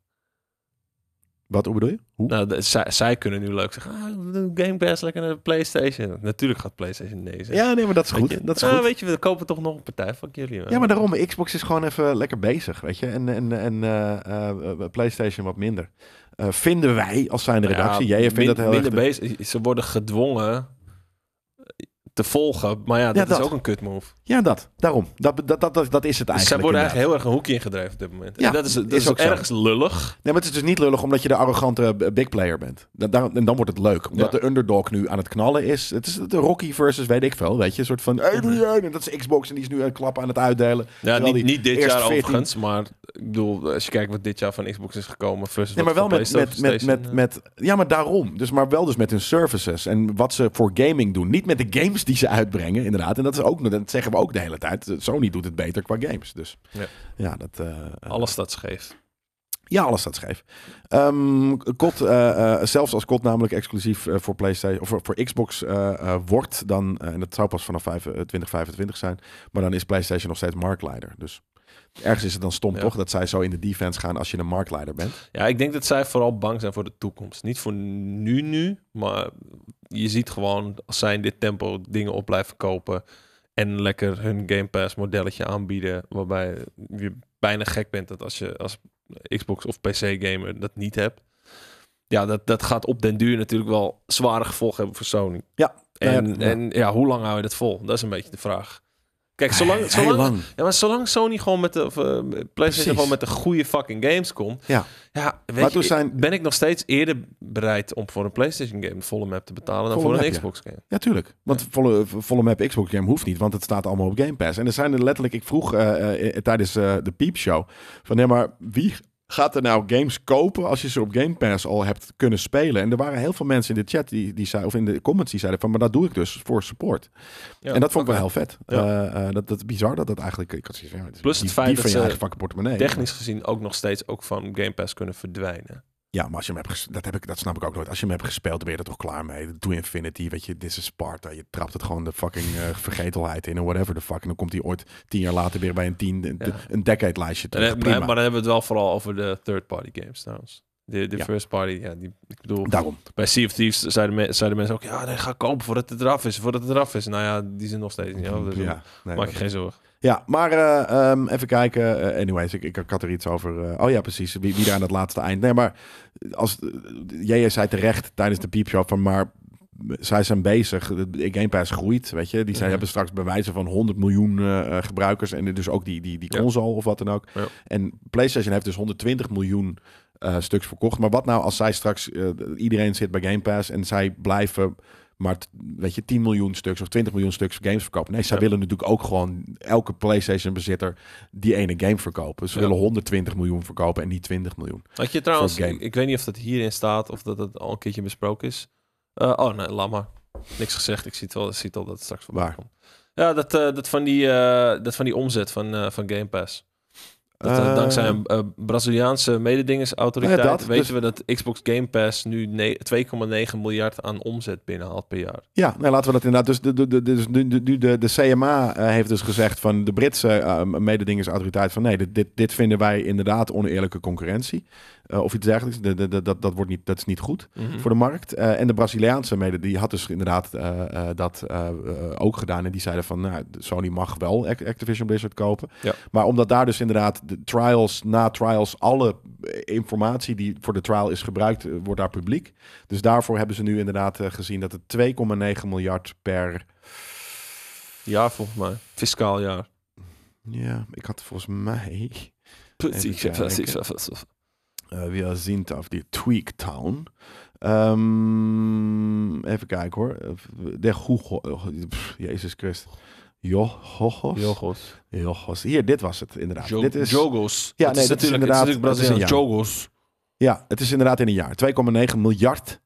S1: Wat, hoe bedoel je? Hoe?
S2: Nou, de- zij, zij kunnen nu leuk zeggen, ah, doe Game Pass lekker naar de PlayStation. Natuurlijk gaat PlayStation nee zeggen.
S1: ja, nee, maar dat is
S2: Weet
S1: goed,
S2: je?
S1: dat is
S2: Ah,
S1: goed.
S2: weet je, we kopen toch nog een partij, fuck jullie. man.
S1: Ja, maar daarom, Xbox is gewoon even lekker bezig, weet je. En, en, en eh, eh, eh, PlayStation wat minder. Eh, vinden wij, als zijnde
S2: Nou ja,
S1: redactie, jij vindt
S2: min-
S1: dat heel erg...
S2: minder bezig. Ze worden gedwongen eh, te volgen. Maar ja, dat,
S1: dat.
S2: is ook een kut move.
S1: Ja, dat. Daarom. Dat, dat, dat, dat, dat is het eigenlijk.
S2: Dus zij worden
S1: inderdaad.
S2: eigenlijk heel erg een hoekje ingedreven op dit moment.
S1: Ja,
S2: en dat is, dat
S1: is
S2: is, ook
S1: ook zo.
S2: ergens lullig.
S1: Nee, maar het is dus niet lullig omdat je de arrogante eh, big player bent. Da- daar- en dan wordt het leuk. Omdat
S2: Ja.
S1: de underdog nu aan het knallen is. Het is de Rocky versus weet ik veel. Weet je, een soort van. Hey, doe jij? En dat is Xbox en die is nu een klap aan het uitdelen.
S2: Ja,
S1: Terwijl
S2: niet,
S1: die
S2: niet dit
S1: eerst
S2: jaar
S1: 14
S2: overigens, maar ik bedoel, als je kijkt wat dit jaar van Xbox is gekomen versus
S1: Nee, maar
S2: Dus wat
S1: wel met,
S2: van
S1: met,
S2: PlayStation,
S1: met, met, met.
S2: eh?
S1: Ja, maar daarom. Dus, maar wel dus met hun services en wat ze voor gaming doen. Niet met de games die ze uitbrengen, inderdaad. En dat, is ook, dat zeggen we ook de hele tijd. Sony doet het beter qua games. Dus
S2: Ja.
S1: ja, dat. eh,
S2: eh, alles dat scheef.
S1: Ja, alles staat scheef. Ehm COD, eh, eh, zelfs als COD namelijk exclusief eh, voor PlayStation of voor, voor Xbox eh, eh, wordt, dan, eh, en dat zou pas vanaf vijf- eh, 2025 zijn, maar dan is PlayStation nog steeds marktleider. Dus ergens is het dan stom
S2: Ja.
S1: toch dat zij zo in de defense gaan als je een marktleider bent.
S2: Ja, ik denk dat zij vooral bang zijn voor de toekomst. Niet voor nu nu, maar je ziet gewoon als zij in dit tempo dingen op blijven kopen en lekker hun Game Pass modelletje aanbieden, waarbij je bijna gek bent dat als je als Xbox of PC gamer dat niet hebt. Ja, dat, dat gaat op den duur natuurlijk wel zware gevolgen hebben voor Sony.
S1: Ja, nou ja,
S2: En,
S1: ja.
S2: en ja, hoe lang hou je dat vol? Dat is een beetje de vraag. Kijk, zolang,
S1: Heel
S2: zolang,
S1: lang.
S2: ja, maar zolang Sony gewoon met de of, eh, PlayStation
S1: Precies.
S2: gewoon met de goede fucking games komt,
S1: Ja.
S2: ja, weet
S1: Maar
S2: je,
S1: toen zijn-
S2: ben ik nog steeds eerder bereid om voor een PlayStation game de volle map te betalen dan
S1: Volle
S2: voor
S1: map,
S2: een
S1: ja.
S2: Xbox game.
S1: Ja, tuurlijk. Want volle, volle map Xbox game hoeft niet, want het staat allemaal op Game Pass. En er zijn er letterlijk, ik vroeg eh, eh, eh, tijdens eh, de piepshow, van nee, maar wie gaat er nou games kopen als je ze op Game Pass al hebt kunnen spelen? En er waren heel veel mensen in de chat, die, die zei, of in de comments, die zeiden van, maar dat doe ik dus voor support.
S2: Ja,
S1: en dat vond ik
S2: oké.
S1: wel heel vet.
S2: Ja.
S1: Eh, eh, dat, dat is bizar dat dat eigenlijk... Ik had zoiets van, ja, is
S2: Plus het
S1: die-
S2: feit
S1: die
S2: dat
S1: van je
S2: ze
S1: eigen fucking portemonnee.
S2: Technisch gezien ook nog steeds ook van Game Pass kunnen verdwijnen.
S1: Ja, maar als je hem hebt ges- dat, heb ik, dat snap ik ook nooit. Als je hem hebt gespeeld, dan ben je er toch klaar mee. Doe Infinity, weet je, dit is Sparta. Je trapt het gewoon de fucking eh, vergetelheid in en whatever the fuck. En dan komt hij ooit tien jaar later weer bij een tien, een,
S2: Ja.
S1: een decade lijstje
S2: En,
S1: terug.
S2: dan-
S1: Prima.
S2: maar dan hebben we het wel vooral over de third-party games trouwens. De, de
S1: Ja.
S2: first party, ja, die, ik bedoel,
S1: Daarom.
S2: bij Sea of Thieves zeiden, me- zeiden mensen ook, ja, nee, ga kopen voordat het eraf is, voordat het eraf is. Nou ja, die zijn nog steeds niet. over, dus
S1: ja, nee,
S2: maak
S1: dat-
S2: je geen zorgen.
S1: ja, maar eh, ehm, even kijken. Eh, anyways, ik, ik, ik had er iets over. eh, oh ja, precies. Wie, wie daar aan het laatste eind. Nee, maar als eh, JJ zei terecht tijdens de piepshow van maar eh, zij zijn bezig. De Game Pass groeit, weet je. Die zij
S2: Mhm.
S1: hebben straks bewijzen van 100 miljoen eh, eh, gebruikers en dus ook die, die, die
S2: Ja.
S1: console of wat dan ook.
S2: Ja.
S1: En PlayStation heeft dus 120 miljoen eh, stuks verkocht. Maar wat nou als zij straks eh, iedereen zit bij Game Pass en zij blijven maar t- weet je 10 miljoen stuks of 20 miljoen stuks games verkopen. Nee, zij
S2: Ja.
S1: willen natuurlijk ook gewoon elke PlayStation bezitter die ene game verkopen. Ze
S2: Ja.
S1: willen 120 miljoen verkopen en niet 20 miljoen.
S2: Had je trouwens,
S1: Voor game.
S2: ik, ik weet niet of dat hierin staat of dat het al een keertje besproken is. Eh, oh nee, laat maar. Niks gezegd. Ik zie het wel, ik zie het al dat het straks voorbij
S1: Waar?
S2: komt. Ja, dat, eh, dat, van die, eh, dat van die omzet van, eh, van Game Pass. Dat, eh,
S1: Eh,
S2: dankzij een eh, Braziliaanse mededingersautoriteit
S1: Nou ja, dat,
S2: weten
S1: dus-
S2: we dat Xbox Game Pass nu ne- 2,9 miljard aan omzet binnenhaalt per jaar.
S1: Ja, nou laten we dat inderdaad. Dus de, de, de, dus nu- nu- nu de, de CMA eh, heeft dus gezegd van de Britse eh, mededingersautoriteit van nee, dit, dit, dit vinden wij inderdaad oneerlijke concurrentie. Eh, of iets dergelijks. De, de, de- dat, dat, wordt niet, dat is niet goed
S2: Hm.
S1: voor de markt. Eh, en de Braziliaanse mede, die had dus inderdaad eh, eh, dat eh, eh, ook gedaan. En die zeiden van nou, Sony mag wel Ac- Activision Blizzard kopen.
S2: Ja.
S1: Maar omdat daar dus inderdaad de trials, na trials, alle eh, informatie die voor de trial is gebruikt, eh, wordt daar publiek. Dus daarvoor hebben ze nu inderdaad eh, gezien dat het 2,9 miljard per.
S2: Jaar volgens mij. Fiscaal jaar.
S1: Ja, ik had volgens mij. kijken.
S2: Ja,
S1: eh we zien het af die Tweak Town. Ehm, even kijken hoor. Eh, De Google. oh, pff, Jezus Christus. Johos.
S2: gos.
S1: Johos. Hier, dit was het inderdaad.
S2: Jo-
S1: dit is,
S2: Jogos.
S1: Ja,
S2: Dat
S1: nee,
S2: is
S1: dat is
S2: natuurlijk,
S1: inderdaad-
S2: het is natuurlijk
S1: dat is een
S2: Braziliaans. Jogos.
S1: ja, het is inderdaad in een jaar. 2,9 miljard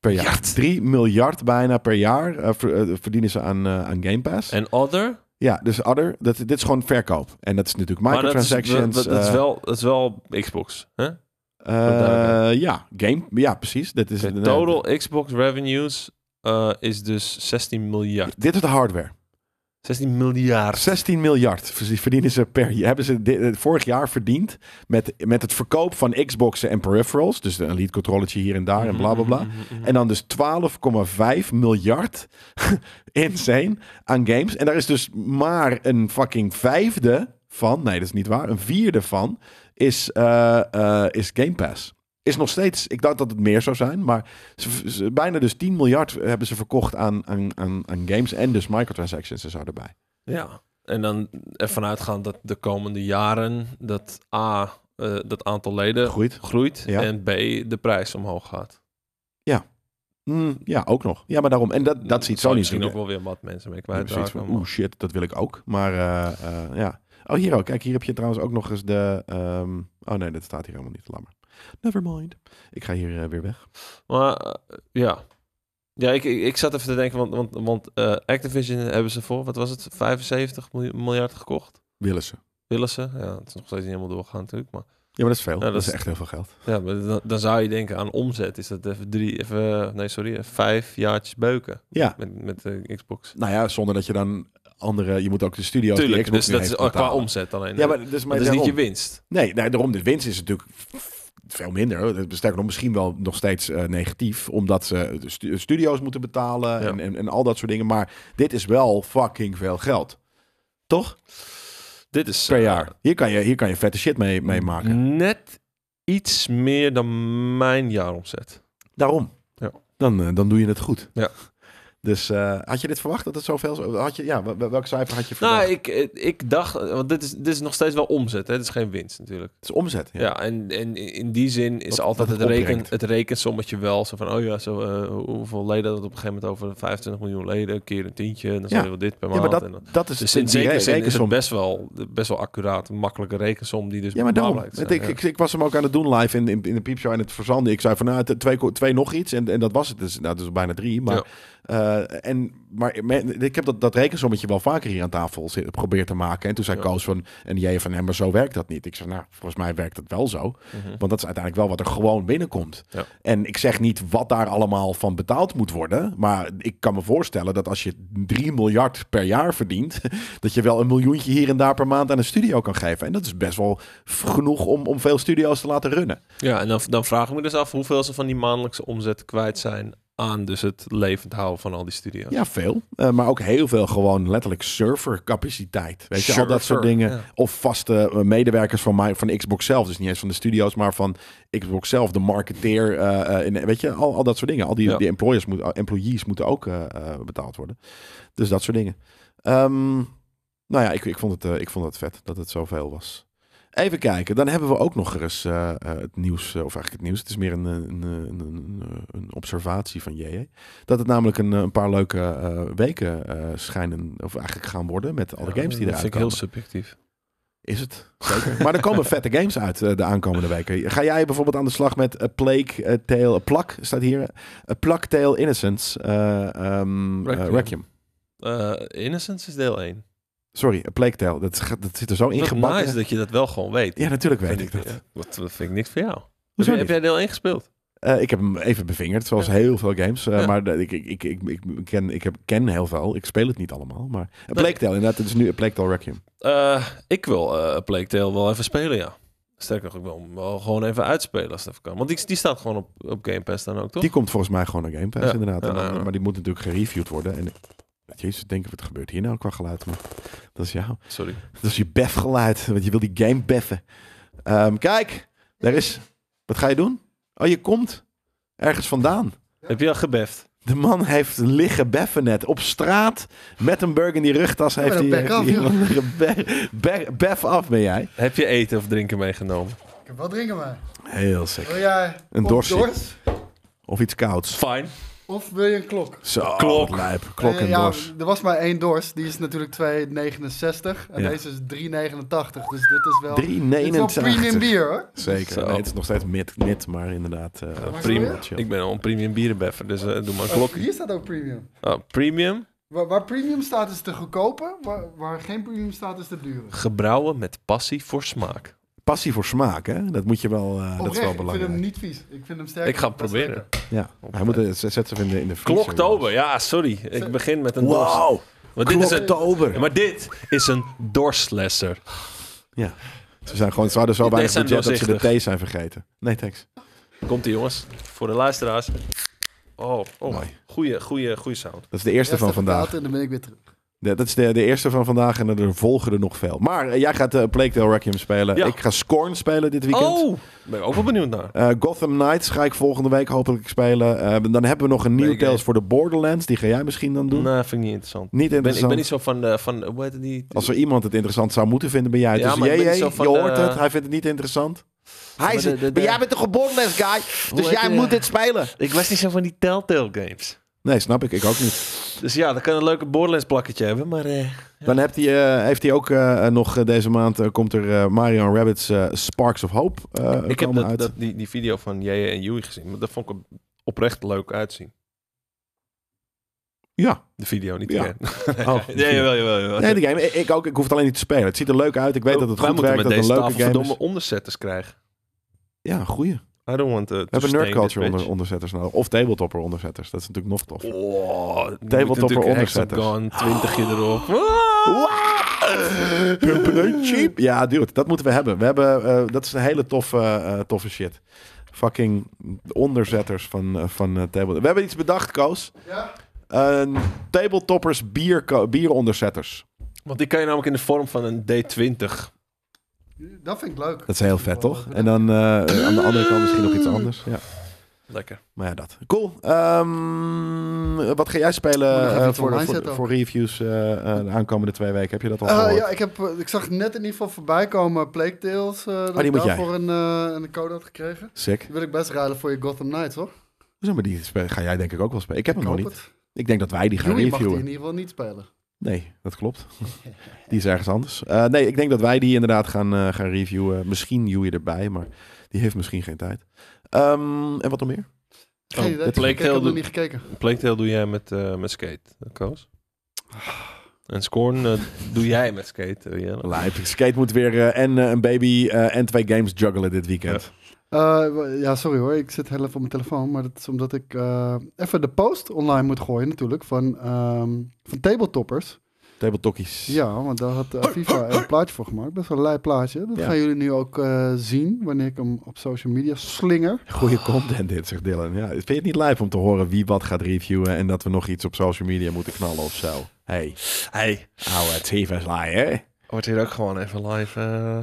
S1: per jaar.
S2: Miljard.
S1: 3 miljard bijna per jaar eh, ver- eh, verdienen ze aan, eh, aan Game Pass.
S2: En other?
S1: Ja, dus Adder, dat, dit is gewoon verkoop. En dat is natuurlijk
S2: Maar dat is-
S1: microtransactions.
S2: Dat, dat, dat is
S1: eh,
S2: wel, dat is wel Xbox. Hè?
S1: eh,
S2: duidelijk.
S1: ja, game. Ja, precies. Dat is
S2: De
S1: nee,
S2: total Xbox revenues eh, is dus 16 miljard.
S1: Dit is de hardware.
S2: 16 miljard.
S1: 16 miljard verdienen ze per jaar. Hebben ze dit- vorig jaar verdiend met, met het verkoop van Xboxen en peripherals. Dus een lead controllertje hier en daar en bla bla bla.
S2: Mhm, mhm, mhm.
S1: En dan dus 12,5 miljard. Insane. Aan games. En daar is dus maar een fucking vijfde van. Nee, dat is niet waar. Een vierde van is, eh, eh, is Game Pass. Is nog steeds, ik dacht dat het meer zou zijn, maar ze, ze- bijna dus 10 miljard hebben ze verkocht aan, aan, aan, aan games en dus microtransactions en zo erbij.
S2: Ja, en dan ervan uitgaan dat de komende jaren dat A, eh, dat aantal leden
S1: Groeit.
S2: groeit
S1: Ja.
S2: en B, de prijs omhoog gaat.
S1: Mm, ja, ook nog. Ja, maar daarom. En dat, dat ziet
S2: Zou
S1: Sony
S2: misschien
S1: natuurlijk.
S2: ook wel weer wat mensen mee
S1: Ik heb zoiets
S2: kwijtraken.
S1: van,
S2: maar-
S1: Oeh, shit, dat wil ik ook. Maar eh, eh, ja. Oh, hier ook. Kijk, hier heb je trouwens ook nog eens de... ehm, Oh nee, dat staat hier helemaal niet. Laat maar. Never mind. Ik ga hier eh, weer weg.
S2: Maar eh, ja. Ja, ik, ik, ik zat even te denken, want, want, want eh, Activision hebben ze voor, wat was het, 75 miljoen- miljard gekocht?
S1: Willen ze.
S2: Willen ze? Ja, het is nog steeds niet helemaal doorgegaan natuurlijk, maar...
S1: Ja, maar dat is veel. dat,
S2: dat
S1: is
S2: is-
S1: echt heel veel geld.
S2: Ja, maar dan, dan zou je denken aan omzet. Is dat even drie, even, eh, nee sorry, even vijf jaartjes beuken
S1: Ja.
S2: met, met de Xbox.
S1: Nou ja, zonder dat je dan andere... Je moet ook de studio...
S2: Tuurlijk, dus dat is ook qua omzet alleen.
S1: Ja, maar, dus, maar
S2: dat is niet je
S1: daarom.
S2: winst.
S1: Nee, nee, daarom de winst is natuurlijk veel minder. Sterker nog, misschien wel nog steeds eh, negatief. Omdat ze de stu- studio's moeten betalen
S2: Ja.
S1: en, en, en al dat soort dingen. Maar dit is wel fucking veel geld. Toch?
S2: Dit is
S1: Per
S2: eh,
S1: jaar. Hier kan je, hier kan je vette shit mee,
S2: Mm.
S1: mee maken.
S2: net iets meer dan mijn jaaromzet.
S1: Daarom.
S2: Ja.
S1: Dan, eh, dan doe je het goed.
S2: Ja.
S1: Dus eh, had je dit verwacht dat het zoveel zou- had je? Ja, wel- wel- welk cijfer had je verwacht?
S2: Nou, ik, eh, ik dacht, eh, want dit is, dit is nog steeds wel omzet, hè? dit is geen winst natuurlijk.
S1: het is omzet.
S2: Ja,
S1: Ja.
S2: en, en in die zin is
S1: Wat- wat
S2: altijd
S1: het
S2: het, reken,
S1: opbrengt.
S2: het rekensommetje wel zo van, oh ja, zo, eh, hoeveel leden dat op een gegeven moment over 25 miljoen leden, keer een tientje, en dan
S1: Ja.
S2: zal je wel dit per
S1: Ja,
S2: maand.
S1: maar
S2: en dan-
S1: dat, dat is
S2: Dus in
S1: die
S2: zekere
S1: re-
S2: zin is het
S1: rekensom.
S2: best wel, best wel accuraat, een makkelijke rekensom die dus
S1: Ja, maar
S2: bepaald
S1: daarom.
S2: blijkt te
S1: ik,
S2: zijn,
S1: ik, ik was hem ook aan het doen live in, in, in de piepshow en het verzanden. Ik zei van, nou, t- twee, ko- twee nog iets. En, en dat was het. Dus, nou, dus bijna drie. Maar, eh, en, maar me- ik heb dat, dat rekensommetje wel vaker hier aan tafel zit- geprobeerd te maken. En toen zei
S2: Ja.
S1: Koos van, en jij van, nee, maar zo werkt dat niet. Ik zei, nou, volgens mij werkt het wel zo.
S2: ja. Mhm.
S1: Want dat is uiteindelijk wel wat er gewoon binnenkomt.
S2: Ja.
S1: En ik zeg niet wat daar allemaal van betaald moet worden. Maar ik kan me voorstellen dat als je 3 miljard per jaar verdient. dat je wel een miljoentje hier en daar per maand aan een studio kan geven. En dat is best wel f- genoeg om, om veel studio's te laten runnen.
S2: Ja, en dan, dan vraag ik me dus af hoeveel ze van die maandelijkse omzet kwijt zijn aan dus het levend houden van al die studio's.
S1: Ja, veel. Eh, maar ook heel veel gewoon letterlijk servercapaciteit. Weet je, al dat soort
S2: Server,
S1: dingen.
S2: ja.
S1: Of vaste eh, medewerkers van, mij, van Xbox zelf. Dus niet eens van de studio's, maar van Xbox zelf. De marketeer, eh, eh, in, weet je, al, al dat soort dingen. Al die,
S2: Ja.
S1: die employers moet, employees moeten ook eh, eh, betaald worden. Dus dat soort dingen. Ehm, nou ja, ik, ik, vond het, eh, ik vond het vet dat het zoveel was. Even kijken, dan hebben we ook nog eens eh, eh, het nieuws, eh, of eigenlijk het nieuws, het is meer een, eh, een, eh, een, een, eh, een observatie van JJ. Dat het namelijk een, eh, een paar leuke eh, weken eh, schijnen, of eigenlijk gaan worden met alle games die
S2: dat
S1: eruit
S2: vind ik
S1: komen.
S2: heel subjectief.
S1: Is het? Zeker. maar er komen vette games uit eh, de aankomende weken. Ga jij bijvoorbeeld aan de slag met A Plague eh, Tale, A Plak staat hier, A Plague Tale Innocence, eh ehm, eh,
S2: Requiem.
S1: Requiem.
S2: Eh, Innocence is deel 1én.
S1: Sorry, A Plague Tale, dat, gaat- dat zit er zo
S2: Wat
S1: ingebakken.
S2: nice dat je dat wel gewoon weet.
S1: Ja, natuurlijk weet ik
S2: Vind
S1: dat.
S2: ja. Wat, dat vind ik niks voor jou.
S1: Hoezo
S2: heb,
S1: niet?
S2: je- heb jij deel 1 gespeeld?
S1: Eh, ik heb hem even bevingerd, zoals
S2: Ja.
S1: heel veel games. Eh,
S2: Ja.
S1: Maar de- ik, ik, ik, ik, ik ken, ik heb, ken heel veel. Ik speel het niet allemaal. Maar een
S2: Nee.
S1: Plague Tale, inderdaad. Het is nu een Plague Tale Requiem.
S2: Eh, ik wil eh Plague Tale wel even spelen, ja. Sterker nog, ik wil hem wel gewoon even uitspelen als het even kan. Want die, die staat gewoon op, op Game Pass dan ook, toch?
S1: Die komt volgens mij gewoon naar Game Pass,
S2: Ja.
S1: inderdaad. En
S2: Ja,
S1: dan-
S2: ja.
S1: Maar die moet natuurlijk gereviewd worden. En, jezus, denk ik, wat gebeurt hier nou qua geluid? Maar dat is jou.
S2: Sorry.
S1: Dat is je befgeluid, want je wil die game beffen. Ehm, kijk, daar is... Wat ga je doen? Oh, je komt ergens vandaan.
S2: Heb je al gebeft?
S1: De man heeft liggen beffen net. Op straat, met een burger in die rugtas, heeft
S3: maar
S1: hij...
S3: dan bek
S1: heeft hij
S3: af, joh.
S1: iemand liggen be- be- Bef af ben jij.
S2: Heb je eten of drinken meegenomen?
S3: Ik heb wel drinken, maar.
S1: Heel sick.
S3: Wil jij
S1: Een
S3: op
S1: dorsie.
S3: dors?
S1: Of iets kouds.
S2: Fine.
S3: Of wil je een klok?
S1: Zo,
S2: Klok.
S1: wat lijp. Klok
S3: Eh,
S1: en
S3: ja,
S1: dors.
S3: Er was maar één dors. Die is natuurlijk 2,69. En
S1: Ja.
S3: deze is 3,89. Dus dit is wel. Dit is wel premium
S1: 3,89.
S3: bier hoor.
S1: Zeker.
S2: Zo.
S1: Nee, het is nog steeds mid, mid maar inderdaad. eh,
S3: maar
S2: Premium.
S3: wil
S1: chill.
S2: Ik ben al een premium bierenbeffer, dus eh, doe maar een
S3: Oh,
S2: klokje.
S3: hier staat ook premium.
S2: Oh, premium,
S3: Waar, waar premium staat is de goedkope. Waar, waar geen premium staat is de dure.
S2: gebrouwen met passie voor smaak.
S1: Passie voor smaak, hè? Dat moet je wel. eh, dat is
S3: Oprecht,
S1: wel
S3: ik vind
S1: belangrijk.
S3: hem niet vies. Ik vind hem sterk.
S2: Ik ga hem
S3: Best
S2: proberen.
S3: lekker.
S1: Ja. Hij moet het zet ze in de in de vriezer,
S2: Kloktober, ja, sorry. Ik begin met een
S1: jongens.
S2: dorst.
S1: Wow.
S2: Maar dit, is een,
S1: Kloktober.
S2: maar dit is een dorslesser.
S1: Ja. Ze zijn gewoon. Ze hadden zo weinig
S2: zijn
S1: budget dat ze de
S2: doorzichtig.
S1: thee zijn vergeten. Nee, thanks.
S2: Komt ie, jongens. Voor de luisteraars. Oh, oh.
S1: Mooi.
S2: Goeie, goeie, goeie sound.
S1: Dat is de eerste
S3: Rest
S1: van
S3: even
S1: vandaag.
S3: praten En dan ben ik weer terug.
S1: Ja, dat is de, de eerste van vandaag en er volgen er nog veel. Maar eh, jij gaat eh, Plague Tale Requiem spelen.
S2: Ja.
S1: Ik ga Scorn spelen dit weekend.
S2: Oh, ben ik ook wel benieuwd naar.
S1: Eh, Gotham Knights ga ik volgende week hopelijk spelen. Eh, dan hebben we nog een nieuw
S2: Leuk, hè?
S1: Tales voor de Borderlands. Die ga jij misschien dan doen.
S2: Nee, vind ik niet interessant.
S1: Niet
S2: Ik ben, ik
S1: interessant.
S2: ben niet zo van, de, van hoe heet het, die...
S1: Als er iemand het interessant zou moeten vinden, ben jij het.
S2: Ja,
S1: dus
S2: maar ik
S1: jee,
S2: ben niet
S1: jee,
S2: zo van
S1: je hoort
S2: de-
S1: het. Hij vindt het niet interessant. Hij
S2: maar
S1: is,
S2: de-
S1: het.
S2: de-
S1: maar
S2: de-
S1: jij bent toch een Borderlands guy? Dus
S2: heet
S1: jij
S2: die,
S1: moet
S2: eh?
S1: dit spelen.
S2: Ik was niet zo van die Telltale games.
S1: Nee, snap ik. Ik ook niet.
S2: Dus ja, dan kan een leuke Borderlands plakketje hebben, maar... eh,
S1: Dan heeft hij, eh, heeft hij ook eh, eh, nog eh, deze maand... eh, komt er eh, Mario en Rabbids eh, Sparks of Hope eh,
S2: ik heb
S1: komen
S2: dat,
S1: uit.
S2: dat, die, die video van jij en Joey gezien, maar dat vond ik hem oprecht leuk uitzien.
S1: Ja,
S2: De video, niet
S1: Ja.
S2: de game.
S1: Oh.
S2: nee, jawel, jawel, jawel.
S1: nee, de game. Ik, ik ook. Ik hoef het alleen niet te spelen. Het ziet er leuk uit. Ik weet dat het
S2: Oh, Wij
S1: goed
S2: moeten
S1: werkt.
S2: met
S1: Dat het
S2: deze
S1: een
S2: tafel
S1: leuke game is.
S2: verdomme onderzetters krijgen.
S1: Ja, goeie.
S2: I don't want uh, to
S1: We hebben nerd culture onder, onderzetters nodig. Of tabletopper onderzetters. Dat is natuurlijk nog tof.
S2: Oh,
S1: Tabletopper onderzetters.
S2: Hexagon, 20 je erop. Ah!
S1: cheap. Ja, dude, dat moeten we hebben. We hebben eh, dat is een hele toffe, eh, toffe shit. Fucking onderzetters van, eh, van eh, table. We hebben iets bedacht, Koos.
S3: Ja?
S1: Een tabletoppers bier, bieronderzetters.
S2: Want die kan je namelijk in de vorm van een D20.
S3: Dat vind ik leuk.
S1: Dat is heel vet, toch? En dan eh, aan de andere kant misschien nog iets anders. Ja.
S2: Lekker.
S1: Maar ja, dat. Cool. Ehm, wat ga jij
S3: Moet
S1: spelen
S3: nog even
S1: eh,
S3: iets
S1: voor,
S3: online
S1: voor,
S3: zetten ook.
S1: voor reviews eh, eh, de aankomende twee weken? Heb je dat al
S3: Eh,
S1: gehoord?
S3: ja, ik, heb, eh, ik zag net in ieder geval voorbij komen Plague Tales. eh dat
S1: Oh, die
S3: ik
S1: moet jij.
S3: daarvoor een, eh, een code had gekregen.
S1: Sick.
S3: Die wil ik best ruilen voor je Gotham Knights, hoor.
S1: Zo, maar die spe- ga jij denk ik ook wel spelen. Ik heb hem Oh, nog
S3: Koop
S1: niet.
S3: het.
S1: Ik denk dat wij die gaan
S3: Joey mag die in
S1: reviewen.
S3: ieder geval niet spelen.
S1: Nee, dat klopt. die is ergens anders. Eh, nee, ik denk dat wij die inderdaad gaan, eh, gaan reviewen. Misschien Joey erbij, maar die heeft misschien geen tijd. Ehm, en wat nog meer? Oh,
S3: Geen idee.
S2: dat
S3: Ik
S2: Plague
S3: heb hem
S2: Tale
S3: nog
S2: doet-
S3: niet gekeken.
S2: Plague Tale doe jij met, eh, met skate, eh, Koos. Ah. En Scorn eh, doe jij met skate, eh, Jelle.
S1: Lijp. Skate moet weer eh, en eh, een baby eh, en twee games juggelen dit weekend.
S3: Eh, w- ja, sorry hoor. Ik zit heel even op mijn telefoon. Maar dat is omdat ik eh, even de post online moet gooien natuurlijk. Van, ehm van tabletoppers.
S1: Tabletokkies.
S3: Ja, want daar had eh, FIFA een plaatje voor gemaakt. Best wel een lei plaatje. Dat
S1: Ja.
S3: gaan jullie nu ook eh, zien. Wanneer ik hem op social media slinger.
S1: Goeie content dit, zegt Dylan. Ja, vind je het niet live om te horen wie wat gaat reviewen en dat we nog iets op social media moeten knallen of zo? Hey,
S2: Hey,
S1: ouwe, TV is laai, hè?
S2: wordt hier ook gewoon even live, eh,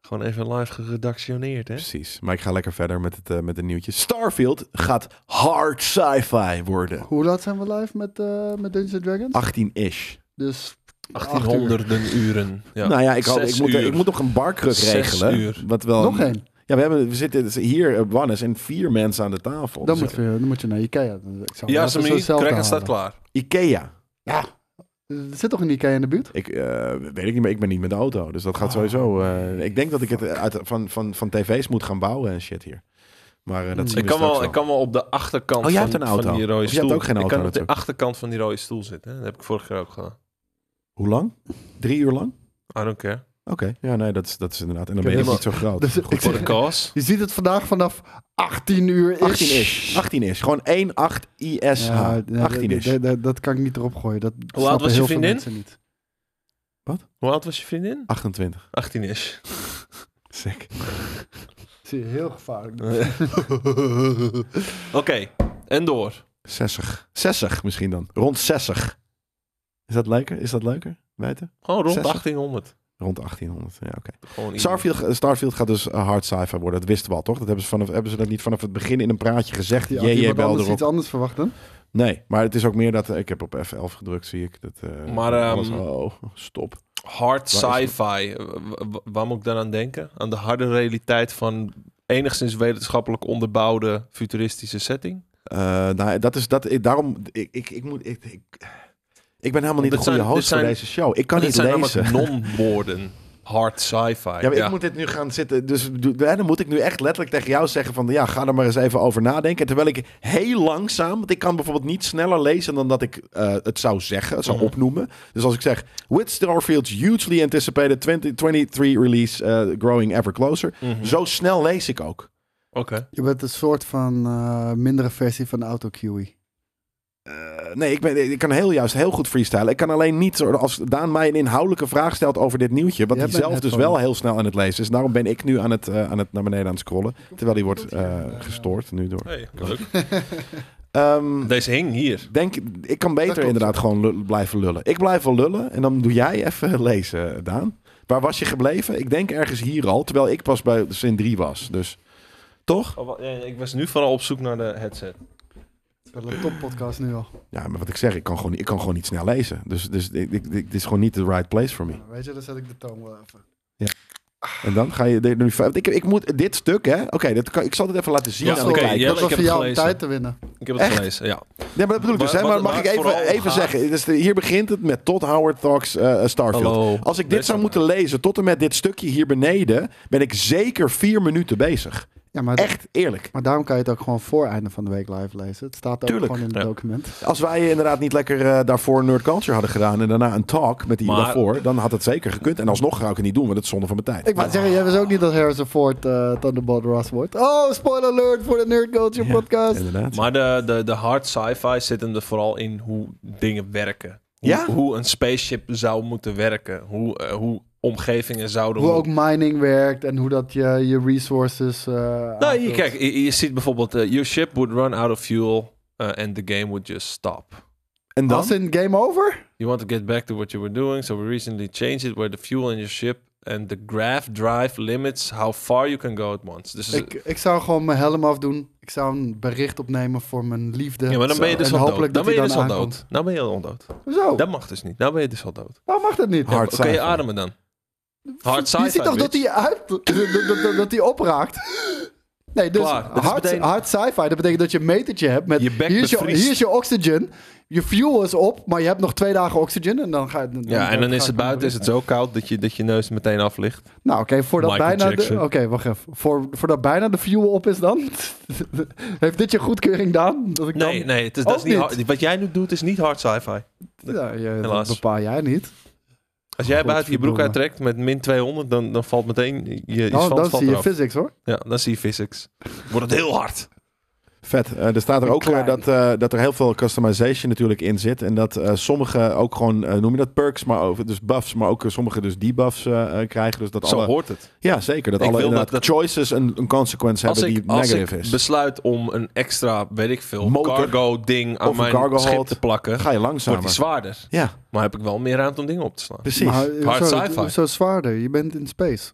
S2: gewoon even live geredactioneerd, hè?
S1: Precies. Maar ik ga lekker verder met het, eh, met de nieuwtjes. Starfield gaat hard sci-fi worden.
S3: Hoe laat zijn we live met, eh met Dungeons and Dragons?
S1: 18-ish.
S3: Dus
S2: 1800 uren. Ja.
S1: Nou ja, ik, had-
S2: Zes
S1: ik, moet,
S2: uur.
S1: ik moet nog een barkruk
S2: Zes
S1: regelen.
S2: uur.
S1: Wat wel,
S3: nog één.
S1: Ja, we, hebben, we zitten hier op Wannes en vier mensen aan de tafel.
S3: Dan
S1: Dus,
S3: moet, je, dan moet je naar Ikea. Ik zou
S2: Ja,
S3: hem even
S2: Sammy,
S3: zo zelf
S2: crack staat
S3: halen.
S2: klaar.
S1: eh, Ikea.
S3: Er zit toch een Ikea in de buurt?
S1: Ik eh, weet ik niet meer. Ik ben niet met de auto. Dus dat gaat
S3: Oh,
S1: sowieso. eh, ik denk dat ik het uit, van, van, van tv's moet gaan bouwen en shit hier. Maar
S3: Hmm.
S1: eh, dat zien
S2: Ik
S1: we
S2: kan,
S1: straks
S2: wel,
S1: wel.
S2: ik kan wel op de achterkant
S1: Oh, jij
S2: van,
S1: hebt een auto.
S2: van die rode
S1: Of
S2: stoel.
S1: jij hebt ook geen
S2: ik
S1: auto
S2: kan op de
S1: natuurlijk.
S2: achterkant van die rode stoel zitten. Hè? Dat heb ik vorig jaar ook gedaan.
S1: Hoe lang? Drie uur lang?
S2: I don't care.
S1: Oké. Ja, nee, dat is, dat is inderdaad. En dan
S3: Ik
S1: ben je
S3: heb
S1: ook niet zo groot.
S3: Dus
S1: Goed
S3: ik
S2: Voor
S1: voor
S2: de
S1: de-
S2: kaas.
S3: Je ziet het vandaag vanaf 18 uur.
S1: 18 is. 18 is. Gewoon 1, 8 ISH.
S2: Ah,
S3: Ja, nee,
S1: 18 is.
S3: d- d- d- Dat kan ik niet erop gooien. Dat Hoe
S2: was je
S3: heel
S2: vriendin?
S3: Veel mensen niet.
S2: Hoe oud was je vriendin?
S1: 28.
S2: 18 is.
S1: Sick.
S3: Zie je, heel gevaarlijk.
S2: Eh, Oké, en door.
S1: 60. 60 misschien dan. Rond 60. Is dat leuker? Is dat leuker? Buiten?
S2: Gewoon rond
S1: Zes.
S2: 1800.
S1: Rond 1800. Ja, oké.
S2: Gewoon easy.
S1: Starfield, Starfield gaat dus eh, hard sci-fi worden. Dat wisten we al, toch? Dat hebben ze, vanaf, hebben ze dat niet vanaf het begin in een praatje gezegd.
S3: Die
S1: Ja,
S3: had
S1: JJ
S3: iemand
S1: belde
S3: anders
S1: erop.
S3: iets anders verwacht dan.
S1: Nee, maar het is ook meer dat... eh, Ik heb op F11 gedrukt, zie ik. Dat, eh,
S2: Maar,
S1: alles-
S2: ehm,
S1: oh, stop.
S2: Hard
S1: Waar is
S2: sci-fi. Eh, wa- wa- Waar moet ik dan aan denken? Aan de harde realiteit van enigszins wetenschappelijk onderbouwde futuristische setting?
S1: Eh, nou, dat is... Dat, ik, daarom... Ik, ik, ik moet... Ik, ik, ik ben helemaal niet de
S2: Dit
S1: goede
S2: zijn-
S1: host
S2: dit zijn-
S1: voor deze show. Ik kan
S2: Dit
S1: niet
S2: zijn
S1: lezen.
S2: namelijk non-woorden. Hard sci-fi.
S1: Ja, maar ik moet dit nu gaan zitten. Dus doe- hè, dan moet ik nu echt letterlijk tegen jou zeggen van ja, ga er maar eens even over nadenken. Terwijl ik heel langzaam, want ik kan bijvoorbeeld niet sneller lezen dan dat ik eh, het zou zeggen, het zou
S2: Mhm.
S1: opnoemen. Dus als ik zeg, with Starfield's hugely anticipated 2023 release eh, growing ever closer.
S2: Mhm.
S1: Zo snel lees ik ook.
S2: Oké.
S3: Je bent een soort van eh, mindere versie van AutoQE.
S1: Eh, nee, ik, ben, ik kan heel juist heel goed freestylen. Ik kan alleen niet, zo- als Daan mij een inhoudelijke vraag stelt over dit nieuwtje, wat
S3: Jij
S1: hij
S3: bent
S1: zelf
S3: het
S1: dus
S3: gewoon.
S1: wel heel snel aan het lezen is. Daarom ben ik nu eh, aan het, eh, aan het naar beneden aan het scrollen, terwijl hij wordt eh, gestoord nu door.
S2: Hey, leuk.
S1: Ehm,
S2: Deze hing hier.
S1: denk, ik kan beter
S3: klopt.
S1: inderdaad gewoon lul- blijven lullen. Ik blijf wel lullen en dan doe jij even lezen, Daan. Waar was je gebleven? Ik denk ergens hier al, terwijl ik pas bij Sin 3 was. Dus toch?
S2: Oh, wa- ja, ik was nu vooral op zoek naar de headset.
S3: is wel een toppodcast nu al.
S1: Ja, maar wat ik zeg, ik kan gewoon, ik kan gewoon niet snel lezen. Dus, dus ik, ik, ik- dit is gewoon niet de right place for me.
S3: Nou, weet je, dan zet ik de toon wel even.
S1: En dan ga je er nu... vijf- Ik, ik moet dit stuk, hè? Oké, dit kan- ik zal dit even laten zien
S2: Ja,
S1: aan de
S2: oké,
S1: kijker.
S2: ja.
S3: dat was
S2: ik heb
S3: voor
S2: het
S3: jou om
S2: gelezen.
S3: tijd te winnen.
S2: Ik heb het
S1: Echt?
S2: gelezen, ja.
S1: Nee, maar dat bedoel ik dus.
S2: Waar-
S1: hè, maar
S2: wat-
S1: mag
S2: waar
S1: ik
S2: het
S1: even,
S2: vooral om
S1: even
S2: gaat-
S1: zeggen? Dus de- hier begint het met Todd Howard Talks eh, Starfield.
S2: Hallo.
S1: Als ik dit
S2: Best
S1: zou
S2: wel.
S1: moeten lezen tot en met dit stukje hier beneden... ben ik zeker vier minuten bezig.
S3: Ja, maar,
S1: Echt eerlijk.
S3: maar daarom kan je het ook gewoon voor einde van de week live lezen. Het staat ook
S1: Tuurlijk,
S3: gewoon in
S2: ja.
S3: het document.
S1: Als wij inderdaad niet lekker eh, daarvoor Nerd Culture hadden gedaan... en daarna een talk met die
S2: Maar-
S1: daarvoor... dan had het zeker gekund. En alsnog ga ik het niet doen, want het is zonde van mijn tijd.
S3: Ik wou zeggen, jij wist ook niet dat Harrison Ford eh, Thunderbolt Ross wordt. Oh, spoiler alert voor de Nerd Culture
S1: Ja,
S3: podcast.
S1: Inderdaad.
S2: Maar de, de, de hard sci-fi zit hem er vooral in hoe dingen werken. Hoe,
S1: Ja?
S2: hoe een spaceship zou moeten werken. Hoe, eh, hoe omgevingen zouden...
S3: Hoe ook mining werkt en hoe dat je je resources... eh,
S2: Nou, hier,
S3: aanvult.
S2: kijk, je, je ziet bijvoorbeeld... eh, your ship would run out of fuel eh, and the game would just stop.
S1: en dan?
S3: Als in Game Over?
S2: You want to get back to what you were doing, so we recently changed it where the fuel in your ship and the graph drive limits how far you can go at once. Dus
S3: Ik, ik zou gewoon mijn helm afdoen. Ik zou een bericht opnemen voor mijn liefde.
S2: ja, maar dan ben je
S3: Zo.
S2: dus
S3: en
S2: al
S3: hopelijk
S2: dood. Dan ben
S3: dat
S2: je
S3: hij
S2: dus al
S3: aankomt.
S2: dood. Nou ben je al ondood.
S3: Hoezo?
S2: Dat mag dus niet. Nou ben je dus al dood.
S3: Waarom mag dat niet?
S1: Hard
S2: Oké, je
S1: sci-fi.
S2: ademen dan. Hard sci-fi,
S3: je ziet toch dat
S2: bitch.
S3: hij uit, dat, dat- dat- dat hij opraakt? Nee, dus
S2: Klaar. Dat is
S3: hard,
S2: meteen-
S3: hard sci-fi, dat betekent dat je een metertje hebt met...
S2: Je bek
S3: hier, is je,
S2: bevriest.
S3: hier is je oxygen, je fuel is op, maar je hebt nog twee dagen oxygen en dan ga je... dan-
S2: Ja, en dan
S3: ga
S2: is
S3: ik
S2: het buiten is het zo koud dat je, dat je neus meteen af ligt.
S3: Nou, oké, voordat
S2: Michael
S3: bijna... de-
S2: Jackson.
S3: Oké, wacht even. Voor, voordat bijna de fuel op is dan? Heeft dit je goedkeuring gedaan? Dat ik
S2: Nee,
S3: dan...
S2: nee, het is,
S3: Ook
S2: dat is niet
S3: niet.
S2: hard- wat jij nu doet is niet hard sci-fi.
S3: Ja, je- dat
S2: Helaas.
S3: bepaal jij niet.
S2: Als jij buiten je broek
S3: Godverdomme.
S2: uittrekt met min 200, dan, dan valt meteen je, je
S3: Dan,
S2: zwans
S3: Nou, dan
S2: valt
S3: zie je
S2: eraf.
S3: physics, hoor.
S2: Ja, dan zie je physics. Wordt het heel hard.
S1: Vet. Eh, er staat er ook
S3: Klein.
S1: eh, dat, eh, dat er heel veel customization natuurlijk in zit. En dat eh, sommige ook gewoon, eh, noem je dat perks, maar over, dus buffs, maar ook eh, sommige dus debuffs eh, eh, krijgen. Dus dat
S2: Zo
S1: alle,
S2: hoort het.
S1: ja, zeker. Dat
S2: Ik
S1: alle
S2: wil dat-
S1: inderdaad
S2: dat-
S1: choices een, een consequence
S2: Als
S1: hebben
S2: ik,
S1: die
S2: als
S1: negative
S2: ik
S1: is.
S2: besluit om een extra, weet ik veel,
S1: Motor.
S2: cargo ding aan
S1: Of een
S2: mijn
S1: cargo
S2: schip
S1: hold.
S2: te plakken,
S1: Dan ga je
S2: wordt die
S1: langzamer.
S2: zwaarder.
S1: Ja,
S2: Maar heb ik wel meer ruimte om dingen op te slaan.
S1: precies.
S3: Maar,
S1: Maar,
S3: eh,
S2: Hard
S3: zo,
S2: sci-fi.
S3: Zo zwaarder, je bent in space.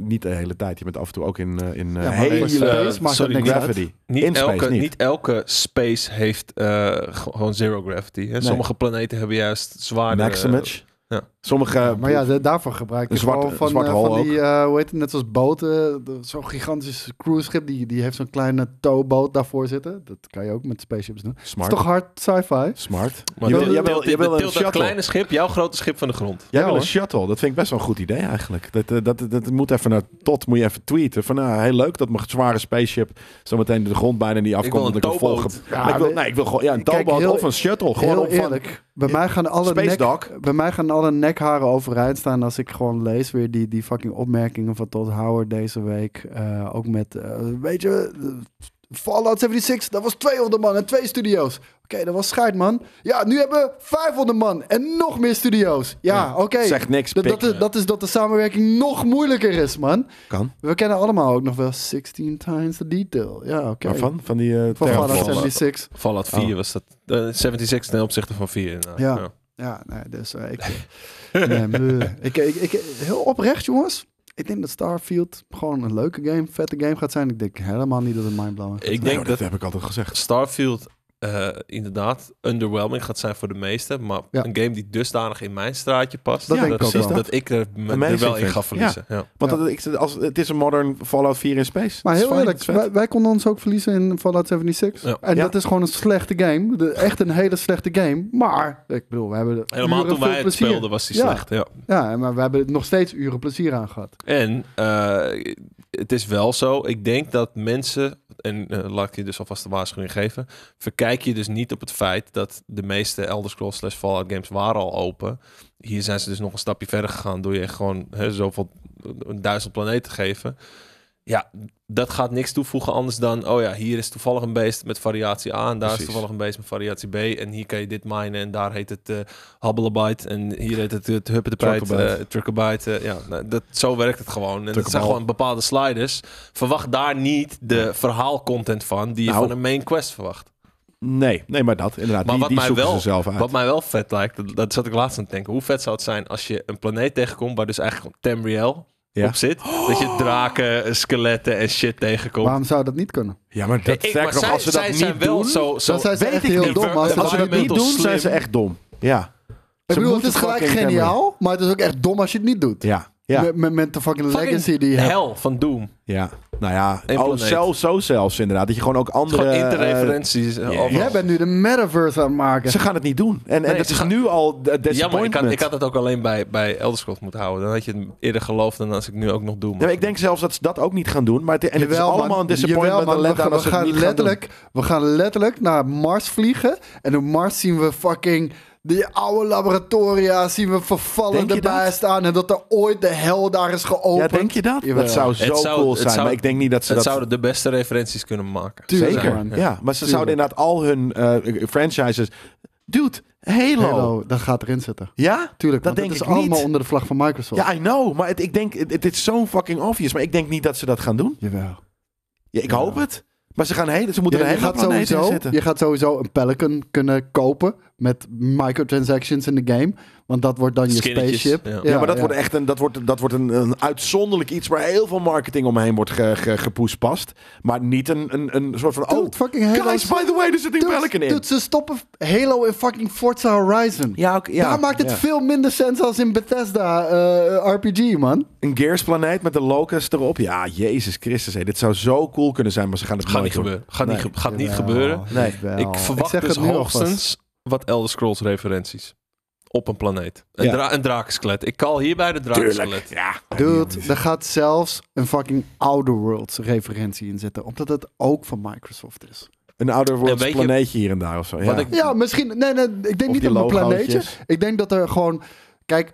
S1: niet de hele tijd. Je bent af en toe ook in, eh, in eh,
S3: Ja, maar
S2: maar,
S1: hele
S2: eh,
S3: space maakt
S2: sorry,
S3: er niks uit.
S1: gravity.
S2: Niet,
S1: In space
S2: elke,
S1: niet.
S2: niet. elke space heeft eh, ge- gewoon zero gravity. Hè? Sommige planeten hebben juist zwaarder...
S1: Maximage.
S2: eh, ja.
S1: Sommige...
S3: Ja, Eh, maar ja, de- daarvoor gebruik je
S1: Een zwarte-
S3: gewoon van,
S1: een zwarte
S3: eh,
S1: hal
S3: van die,
S1: ook.
S3: eh, hoe heet het, net zoals boten. de- Zo'n gigantisch cruiseschip, die, die heeft zo'n kleine towboot daarvoor zitten. Dat kan je ook met spaceships doen.
S1: smart.
S3: is toch hard sci-fi?
S1: Smart.
S2: Maar
S1: je
S2: tilt-
S1: wil, je wil,
S2: tilt-
S1: je wil een
S2: tilt dat
S1: shuttle.
S2: kleine schip, jouw grote schip van de grond.
S1: Jij
S3: Ja,
S1: wil een
S3: hoor.
S1: shuttle. Dat vind ik best wel een goed idee eigenlijk. Dat, eh, dat, dat, dat moet even naar Tot moet je even tweeten. Van nou, heel leuk dat mijn zware spaceship zometeen de grond bijna niet afkomt.
S2: wil een
S1: dat ik hem vol
S2: towboat.
S1: ge- ik wil, nee, ik wil gewoon ja, een
S3: Kijk,
S1: towboat
S3: heel-
S1: of een shuttle. Gewoon
S3: Heel
S1: op van,
S3: eerlijk, bij mij, gaan alle
S1: Space
S3: nek,
S1: Dog.
S3: bij mij gaan alle nekharen overeind staan als ik gewoon lees weer die, die fucking opmerkingen van Todd Howard deze week. Eh, ook met, eh, weet je, eh, Fallout 76, dat was 200 man en twee studio's. Oké, dat was scheid, man. Ja, nu hebben we 500 man en nog meer studio's. Ja,
S1: Ja,
S3: oké.
S1: Zegt niks,
S3: Dat,
S1: pik.
S3: dat, is, dat is dat de samenwerking nog moeilijker is, man.
S1: Kan.
S3: We kennen allemaal ook nog wel 16 times the detail. Ja, oké.
S1: Waarvan? Van die eh
S3: Van Fallout
S1: terraform.
S2: Terraform.
S3: 76.
S2: Fallout
S1: Oh.
S2: 4 was dat. eh, 76 ten opzichte van 4. inderdaad.
S3: Ja. Ja, nee, dus eh, ik, nee, bleh. ik, ik, ik... Heel oprecht, jongens. Ik denk dat Starfield gewoon een leuke game, vette game gaat zijn. Ik denk helemaal niet dat het mindblowing is.
S2: Ik
S1: Nee,
S2: denk
S1: hoor, Nou, dat
S2: dat
S1: heb ik altijd gezegd.
S2: Starfield eh, inderdaad underwhelming gaat zijn voor de meesten. Maar
S3: Ja.
S2: een game die dusdanig in mijn straatje past.
S3: Dat denk ik ook
S2: dat,
S3: wel.
S2: dat ik er, me,
S1: Amazing
S2: er wel in
S1: vind.
S2: ga verliezen. Ja.
S1: Want
S3: Ja.
S1: dat, ik, als, het is een modern Fallout 4 in space.
S3: Maar
S1: Het is
S3: heel
S1: fijn,
S3: eerlijk,
S1: het is vet.
S3: wij, wij konden ons ook verliezen in Fallout 76.
S2: Ja.
S3: En
S1: Ja.
S3: dat is gewoon een slechte game. De, echt een hele slechte game. Maar, ik bedoel, we hebben er
S2: Helemaal
S3: uren
S2: toen wij
S3: veel
S2: het
S3: plezier.
S2: speelden was die
S3: Ja.
S2: slecht. Ja.
S3: Ja, maar we hebben er nog steeds uren plezier aan gehad.
S2: En eh, het is wel zo. Ik denk dat mensen, en eh, laat ik je dus alvast de waarschuwing geven. Verkijk je dus niet op het feit dat de meeste Elder Scrolls slash Fallout games waren al open. Hier eh, zijn ze dus nog een stapje verder gegaan door je echt gewoon hè, zoveel een duizend planeten te geven. Ja, dat gaat niks toevoegen anders dan... oh ja, hier is toevallig een beest met variatie A... en daar
S1: Precies.
S2: is toevallig een beest met variatie B... en hier kan je dit minen en daar heet het eh Hubblebite... en hier heet het, het Huppetepijt, eh
S1: Truckerbyte.
S2: Truckerbyte. eh, ja, nou, dat, zo werkt het gewoon. En het zijn
S1: Truckerbal.
S2: gewoon bepaalde sliders. Verwacht daar niet de verhaalcontent van... die je
S1: Nou.
S2: van een main quest verwacht.
S1: Nee, nee, maar dat. Inderdaad,
S2: Maar
S1: die,
S2: wat
S1: die
S2: mij
S1: zoeken
S2: wel-
S1: ze zelf uit.
S2: Wat mij wel vet lijkt, dat, dat zat ik laatst aan het denken. Hoe vet zou het zijn als je een planeet tegenkomt waar dus eigenlijk gewoon Tamriel
S1: Ja. Oh!
S2: op zit. Dat je draken, eh, skeletten en shit tegenkomt.
S3: Waarom zou dat niet kunnen?
S1: ja, maar dat,
S2: Ik-
S1: sterker
S2: maar
S1: nog,
S2: zij-
S1: als ze dat
S2: zij
S1: niet
S2: zijn wel
S1: doen...
S2: zo, zo
S3: dan zijn ze
S1: weet
S3: echt
S1: ik
S3: heel
S1: niet.
S3: dom. Als ze
S1: als ze dat niet
S2: environmental
S1: doen, zijn ze
S2: slim.
S1: echt dom. Ja.
S3: Ik bedoel, het is
S1: moeten
S3: gelijk
S1: fucking
S3: geniaal, maar het is ook echt dom als je het niet doet.
S1: Ja. Ja.
S3: Met, met, met de fucking,
S2: Fucking
S3: legacy die je hebt.
S2: hel van Doom.
S1: Ja, nou ja,
S2: Eén
S1: oh,
S2: planeet.
S1: zelfs zo zelfs inderdaad. Dat je gewoon ook andere...
S2: Gewoon
S1: eh,
S2: interreferenties. eh,
S1: ja.
S2: overal.
S3: Jij bent nu de metaverse aan het maken.
S1: ze gaan het niet doen. En, en
S2: Nee,
S1: dat
S2: ze
S1: is
S2: gaan-
S1: nu al de
S2: Ja, maar ik
S1: disappointment.
S2: had, ik had het ook alleen bij, bij Elder Scrolls moeten houden. Dan had je het eerder geloofd dan als ik nu ook nog Doom
S1: Ja, maar
S2: had.
S1: ik denk zelfs dat ze dat ook niet gaan doen. Maar het, en het is
S3: Jawel,
S1: allemaal
S3: man.
S1: een disappointment.
S3: Jawel,
S1: en
S3: man.
S1: let aan
S3: we,
S1: als ze
S3: gaan,
S1: het
S3: we,
S1: niet
S3: gaan
S1: gaan doen.
S3: letterlijk, we gaan letterlijk naar Mars vliegen. En op Mars zien we fucking die oude laboratoria zien we vervallen
S1: Denk je
S3: erbij
S1: dat?
S3: staan. En dat er ooit de hel daar is
S1: Ja,
S3: geopend.
S1: denk je dat?
S3: Jawel.
S1: Dat zou zo
S2: Het zou-
S1: cool
S2: het
S1: zijn.
S2: zou-
S1: maar ik denk niet dat ze
S2: het
S1: dat...
S2: zouden de beste referenties kunnen maken.
S3: Tuurlijk,
S1: Zeker,
S3: man.
S1: ja. Maar ze zouden inderdaad al hun eh, franchises... Dude, Halo.
S3: Halo, dat gaat erin zitten.
S1: Ja?
S3: Tuurlijk,
S1: Dat
S3: want het
S1: denk
S3: is
S1: ik niet.
S3: allemaal onder de vlag van Microsoft.
S1: Ja, I know. Maar het, ik denk, het, het is zo fucking obvious. Maar ik denk niet dat ze dat gaan doen.
S3: Jawel.
S1: Ja, ik
S3: Ja.
S1: hoop het. Maar ze, gaan hele, ze moeten
S3: Ja,
S1: er
S3: je,
S1: helemaal
S3: gaat
S1: planeet in
S3: sowieso,
S1: zitten.
S3: je gaat sowieso een Pelican kunnen kopen met microtransactions in de game. Want dat wordt dan je
S2: Skinnetjes,
S3: spaceship.
S2: ja.
S1: Ja, maar dat wordt echt een, dat wordt, dat wordt een, een uitzonderlijk iets waar heel veel marketing omheen wordt ge, ge, gepoespast. Maar niet een, een, een soort van.
S3: Dude,
S1: oh,
S3: fucking Halo.
S1: guys, by the way, er zit een
S3: Dude,
S1: Pelican in.
S3: dude, ze stoppen Halo in fucking Forza Horizon.
S1: Ja, ook- ja,
S3: Daar maakt het
S1: ja.
S3: veel minder sens als in Bethesda eh, RPG, man.
S1: Een Gears-planeet met de Locust erop. Ja, Jezus Christus. hé, dit zou zo cool kunnen zijn, maar ze gaan het
S2: Gaat
S1: nooit
S2: niet
S1: doen.
S2: gebeuren. Gaat niet,
S1: Nee.
S2: ge- gaat niet
S3: Jawel,
S2: gebeuren.
S1: Nee,
S3: jawel.
S2: Ik verwacht
S3: zeg
S2: dus
S3: het nu alvast.
S2: hoogstens wat Elder Scrolls referenties. Op een planeet. Een,
S1: Ja.
S2: dra een drakenskelet. Ik kal hierbij de
S1: Tuurlijk.
S2: drakenskelet.
S1: Ja.
S3: Dude, daar gaat zelfs een fucking Outer Worlds referentie in zitten. Omdat het ook van Microsoft is.
S1: Een ouder
S2: En
S1: wordt
S2: weet je-
S1: planeetje hier en daar of zo. Ja.
S2: Wat ik-
S3: Ja, misschien. Nee, nee, ik denk
S1: Of
S3: niet
S1: die
S3: op een
S1: logootjes.
S3: planeetje. Ik denk dat er gewoon. Kijk.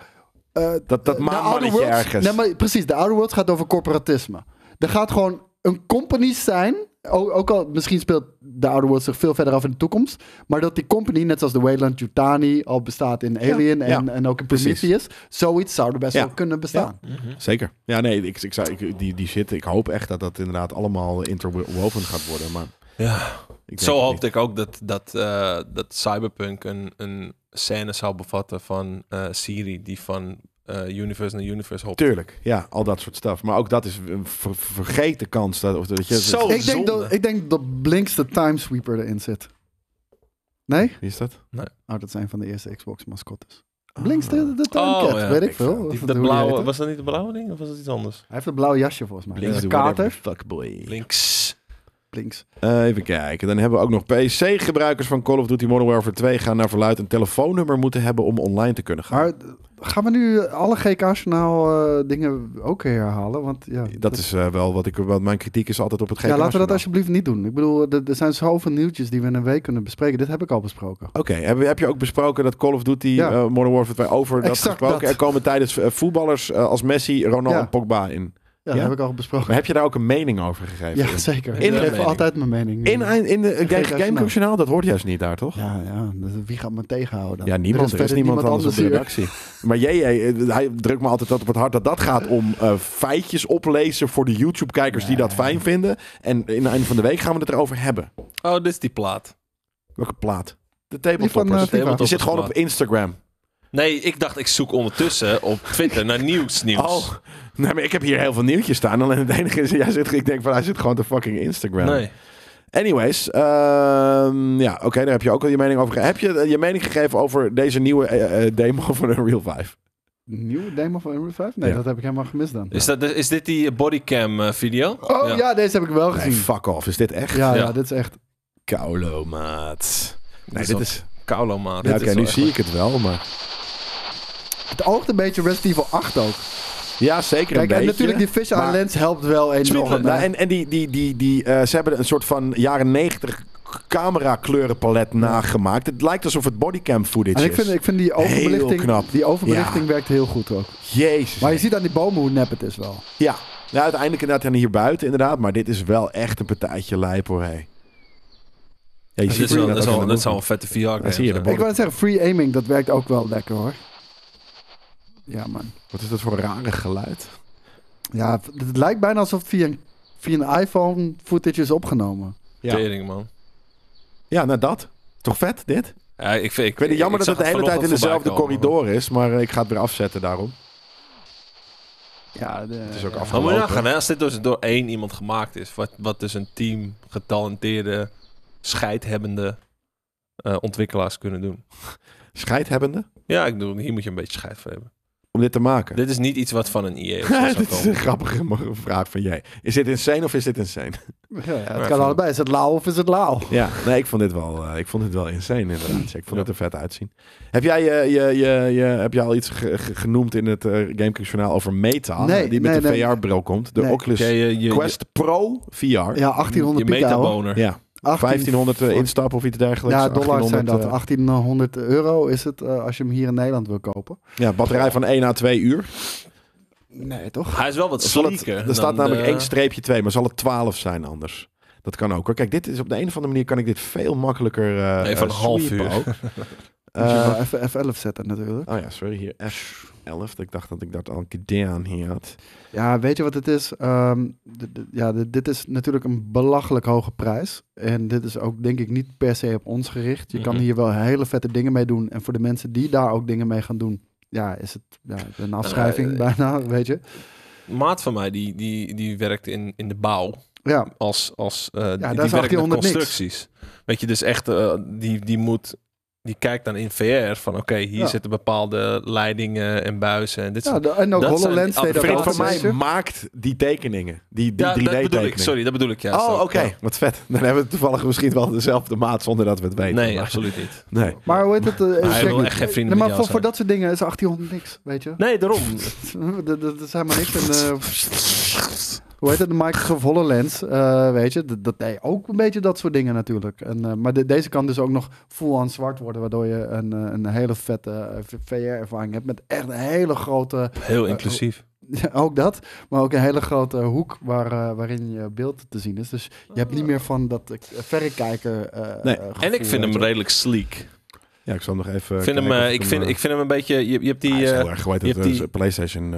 S3: eh,
S1: Dat, dat
S3: de Outer
S1: maanmannetje
S3: Worlds-
S1: ergens.
S3: Nee, maar precies. De Outer Worlds gaat over corporatisme. Er gaat gewoon een company zijn. Ook, ook al misschien speelt de Outer Worlds zich veel verder af in de toekomst. Maar dat die company, net zoals de Wayland Yutani, al bestaat in Alien
S1: ja.
S3: en, en ook in
S1: Precies.
S3: Prometheus. Zoiets zou er best
S1: Ja.
S3: wel kunnen bestaan.
S1: Mhm. Zeker. Ja, nee, ik, ik zou, ik, die, die zitten. Ik hoop echt dat dat inderdaad allemaal interwoven gaat worden. Maar
S2: Ja.
S1: ik denk
S2: Zo
S1: het niet.
S2: hoopte ik ook dat, dat, eh, dat Cyberpunk een, een scène zou bevatten van eh Siri die van eh, universe naar universe hopt.
S1: Tuurlijk, ja, al dat soort stuff. Maar ook dat is een ver- vergeten kans. Dat, of, dat je,
S2: Zo. Oh,
S3: ik, denk
S2: zonde.
S3: dat, ik denk dat Blinks de Timesweeper erin zit. Nee?
S1: Wie is dat?
S3: Oh, dat zijn van de eerste Xbox-mascottes. Blinks de, de
S2: Oh,
S3: Timecat,
S2: ja.
S3: weet ik
S1: Ik
S3: veel.
S1: vind
S3: Of
S2: Die,
S3: hoe
S2: dat
S3: die
S2: blauwe,
S3: heet.
S2: was dat niet het blauwe ding of was dat iets anders?
S3: Hij heeft een blauw jasje volgens mij.
S1: Links
S3: Een
S1: de whatever,
S3: kater.
S1: Fuckboy.
S2: Links.
S3: Blinks.
S1: Eh, even kijken. Dan hebben we ook nog PC-gebruikers van Call of Duty Modern Warfare 2 gaan naar verluid een telefoonnummer moeten hebben om online te kunnen gaan.
S3: Maar eh, gaan we nu alle GK-journaal eh, dingen ook herhalen? Want ja,
S1: dat is eh, wel wat ik. Wat mijn kritiek is altijd op het GK.
S3: ja, laten we dat
S1: journaal.
S3: alsjeblieft niet doen. Ik bedoel, er, er zijn zoveel nieuwtjes die we in een week kunnen bespreken. Dit heb ik al besproken.
S1: Oké, heb, heb je ook besproken dat Call of Duty
S3: Ja.
S1: eh, Modern Warfare 2 over dat
S3: Exact
S1: gesproken?
S3: dat.
S1: Er komen tijdens eh, voetballers eh, als Messi, Ronaldo
S3: Ja.
S1: en Pogba in.
S3: Ja,
S1: Ja?
S3: dat heb ik al besproken.
S1: Maar heb je daar ook een mening over gegeven?
S3: Ja, zeker.
S2: In-
S3: ik geef
S2: mening.
S3: altijd mijn mening.
S1: In, in, in de
S3: GK
S1: Game- Gamecube Journaal, dat hoort juist niet daar, toch?
S3: ja, ja, dus wie gaat me tegenhouden? dan?
S1: Ja, niemand. Er is,
S3: verder
S1: niemand, anders, op de
S3: hier.
S1: redactie. Maar JJ, eh, hij drukt me altijd dat op het hart dat dat gaat om eh, feitjes oplezen voor de YouTube-kijkers die dat fijn vinden. En in het einde van de week gaan we het erover hebben.
S2: Oh, dit is die plaat.
S1: Welke plaat? De
S3: Die van, eh,
S1: tabletoppers.
S3: FIFA.
S1: Je zit gewoon op Instagram.
S2: Nee, ik dacht ik zoek ondertussen op Twitter naar nieuws nieuws.
S1: Oh, nee, maar ik heb hier heel veel nieuwtjes staan. Alleen het enige is, jij zit, ik denk van, hij zit gewoon te fucking Instagram.
S2: nee.
S1: Anyways, ehm, ja, oké, daar heb je ook al je mening over gegeven. Heb je eh, je mening gegeven over deze nieuwe eh, eh, demo van Unreal 5?
S3: Nieuwe demo van Unreal 5? Nee,
S1: Ja. Dus-
S3: dat heb ik helemaal gemist dan.
S2: Is, dat, is dit die bodycam eh, video?
S3: Oh ja. deze heb ik wel
S1: Nee,
S3: gezien.
S1: fuck off. Is dit echt?
S3: ja, ja,
S2: Ja.
S3: dit is echt...
S1: Kaulo, maat. Nee,
S2: is
S1: dit
S2: wel-
S1: is...
S2: Kaulo, maat.
S1: Ja,
S2: Dit
S1: oké,
S2: is wel
S1: nu
S2: echt
S1: zie
S2: leuk.
S1: ik het wel, maar...
S3: Het oogt een beetje Resident Evil 8 ook.
S1: Ja, zeker
S3: Kijk,
S1: een
S3: en
S1: beetje.
S3: natuurlijk die fish
S1: maar-
S3: eye lens helpt wel enorm.
S1: Smidlen.
S3: hè.
S1: Nou, en en die, die, die, die, eh, ze hebben een soort van jaren 90 camera kleurenpalet nagemaakt. Het lijkt alsof het bodycam footage
S3: En ik
S1: is.
S3: vind, ik vind die overbelichting,
S1: knap.
S3: Die overbelichting
S1: Ja.
S3: werkt heel goed ook.
S1: Jezus.
S3: Maar je ziet aan die bomen hoe nep het is wel.
S1: Ja, Ja, uiteindelijk inderdaad en hier buiten inderdaad. Maar dit is wel echt een partijtje lijp hoor. Hey. Ja, je
S2: Dat
S1: ziet
S2: is wel-
S1: inderdaad
S2: dat is
S1: ook
S2: wel-
S1: aan
S2: dat
S1: de
S2: is wel een
S1: movement.
S2: vette VR-game.
S1: zie je, de
S3: Ik wou net zeggen, free aiming, dat werkt ook wel lekker hoor. Ja, man.
S1: Wat is dat voor een rare geluid?
S3: Ja, v- het lijkt bijna alsof via een, via een iPhone footage is opgenomen.
S1: Ja.
S2: Tering, man.
S1: Ja, nou dat. Toch vet dit?
S2: Ja, ik, vind,
S1: Ik weet het jammer
S2: ik
S1: dat
S2: zag
S1: het de hele tijd in
S2: vanochtend
S1: dezelfde
S2: voorbij komen.
S1: corridor is. Maar eh, ik ga het weer afzetten daarom.
S3: Ja, de,
S1: Het is ook
S3: ja.
S1: afge-
S2: Maar moet je
S1: Lopen.
S2: nagaan, hè, als dit dus door één iemand gemaakt is, wat, wat dus een team getalenteerde, scheidhebbende eh, ontwikkelaars kunnen doen.
S1: Scheidhebbende.
S2: Ja, ik bedoel, hier moet je een beetje scheid voor hebben.
S1: Om dit te maken.
S2: Dit is niet iets wat van een IE of zo zou
S1: dit is een
S2: komen.
S1: grappige mo- vraag van jij. Is dit insane of is dit insane?
S3: Ja, het
S2: even-
S3: kan allebei. Is het lauw of is het lauw?
S1: Ja, nee, ik vond dit wel, eh, ik vond dit wel insane inderdaad. Ik vond
S2: Ja.
S1: het er vet uitzien. Heb jij, eh, je, je, je, heb jij al iets ge- ge- genoemd in het eh GameCube journaal over Meta?
S3: Nee,
S1: die met
S3: nee,
S1: de
S3: nee.
S1: VR-bril komt. De
S3: Nee.
S1: Oculus
S2: Jij, eh, je, je-
S1: Quest Pro VR.
S3: Ja, 1800
S2: je
S3: piek, ouwe.
S2: metaboner.
S1: Ja,
S3: 18
S1: 1500 eh, instappen of iets dergelijks.
S3: Ja, dollars zijn dat.
S1: eh,
S3: 1800 euro is het eh, als je hem hier in Nederland wil kopen.
S1: ja, batterij van 1 à 2 uur.
S3: Nee, toch?
S2: Hij is wel wat
S1: Zal het,
S2: sleeker.
S1: er staat
S2: dan eh,
S1: namelijk
S2: de-
S1: één streepje 2, maar zal het 12 zijn anders? Dat kan ook hoor. Kijk, dit is op de een of andere manier kan ik dit veel makkelijker eh
S2: Nee, van
S1: eh,
S2: een half
S1: sweepen
S2: uur.
S1: ook.
S3: Moet je
S1: Eh,
S3: wel even F11 zetten natuurlijk.
S1: Oh ja, sorry, hier F11. Ik dacht dat ik dat al een keer gedaan hier had.
S3: Ja, weet je wat het is? Ehm, d- d- ja, d- dit is natuurlijk een belachelijk hoge prijs. En dit is ook denk ik niet per se op ons gericht. Je kan
S2: Mhm.
S3: hier wel hele vette dingen mee doen. En voor de mensen die daar ook dingen mee gaan doen, ja, is het ja, een afschrijving
S2: eh,
S3: bijna, weet je.
S2: Een maat van mij, die, die, die werkt in, in de bouw.
S3: Ja,
S2: als, als eh, die-
S3: daar
S2: die
S3: is
S2: werkt met
S3: 1800 niks.
S2: constructies. Weet je, dus echt, eh, die, die moet, die kijkt dan in VR van oké, hier
S3: Ja.
S2: zitten bepaalde leidingen en buizen en dit
S3: ja
S2: soort
S3: de- en ook
S2: dat zijn
S3: HoloLens
S2: die
S3: deed
S1: Een
S3: dat
S1: vriend
S3: ook,
S1: van mij
S3: weet je.
S1: maakt die tekeningen. Die, die
S2: Ja,
S1: 3D
S2: dat bedoel ik,
S1: tekeningen.
S2: sorry, dat bedoel ik juist.
S1: oh, oké.
S2: ook, ja.
S1: Wat vet. Dan hebben we toevallig misschien wel dezelfde maat zonder dat we het weten.
S2: Nee,
S1: Maar-
S2: absoluut niet.
S1: Nee.
S3: Maar hoe heet het? eh,
S2: hij
S3: check
S2: wil
S3: niet.
S2: echt geen vrienden
S3: Nee,
S2: met
S3: maar
S2: jou
S3: voor, voor
S2: zijn.
S3: dat soort dingen is 1800 niks, weet je.
S2: Nee, daarom.
S3: Dat- Dat dat is helemaal niks. En, eh, hoe heet het? De Microsoft HoloLens. eh, weet je, dat, dat deed ook een beetje dat soort dingen natuurlijk. En, eh, maar de- deze kan dus ook nog full aan zwart worden. Waardoor je een, eh, een hele vette eh, VR-ervaring hebt. Met echt een hele grote.
S2: Heel inclusief.
S3: ja, ook dat. Maar ook een hele grote hoek waar, eh, waarin je beeld te zien is. Dus je hebt niet meer van dat eh, verrekijker. eh,
S1: Nee.
S3: eh,
S2: En ik
S3: gevoel,
S2: vind hem
S3: weet je.
S2: redelijk sleek.
S1: Ja, ik zal hem nog even.
S2: Ik vind hem, eh, ik, vind, ik vind hem een beetje, je, je hebt die...
S1: die,
S2: eh,
S1: heel erg geweten.
S2: je
S1: Het
S2: hebt
S1: is
S2: die-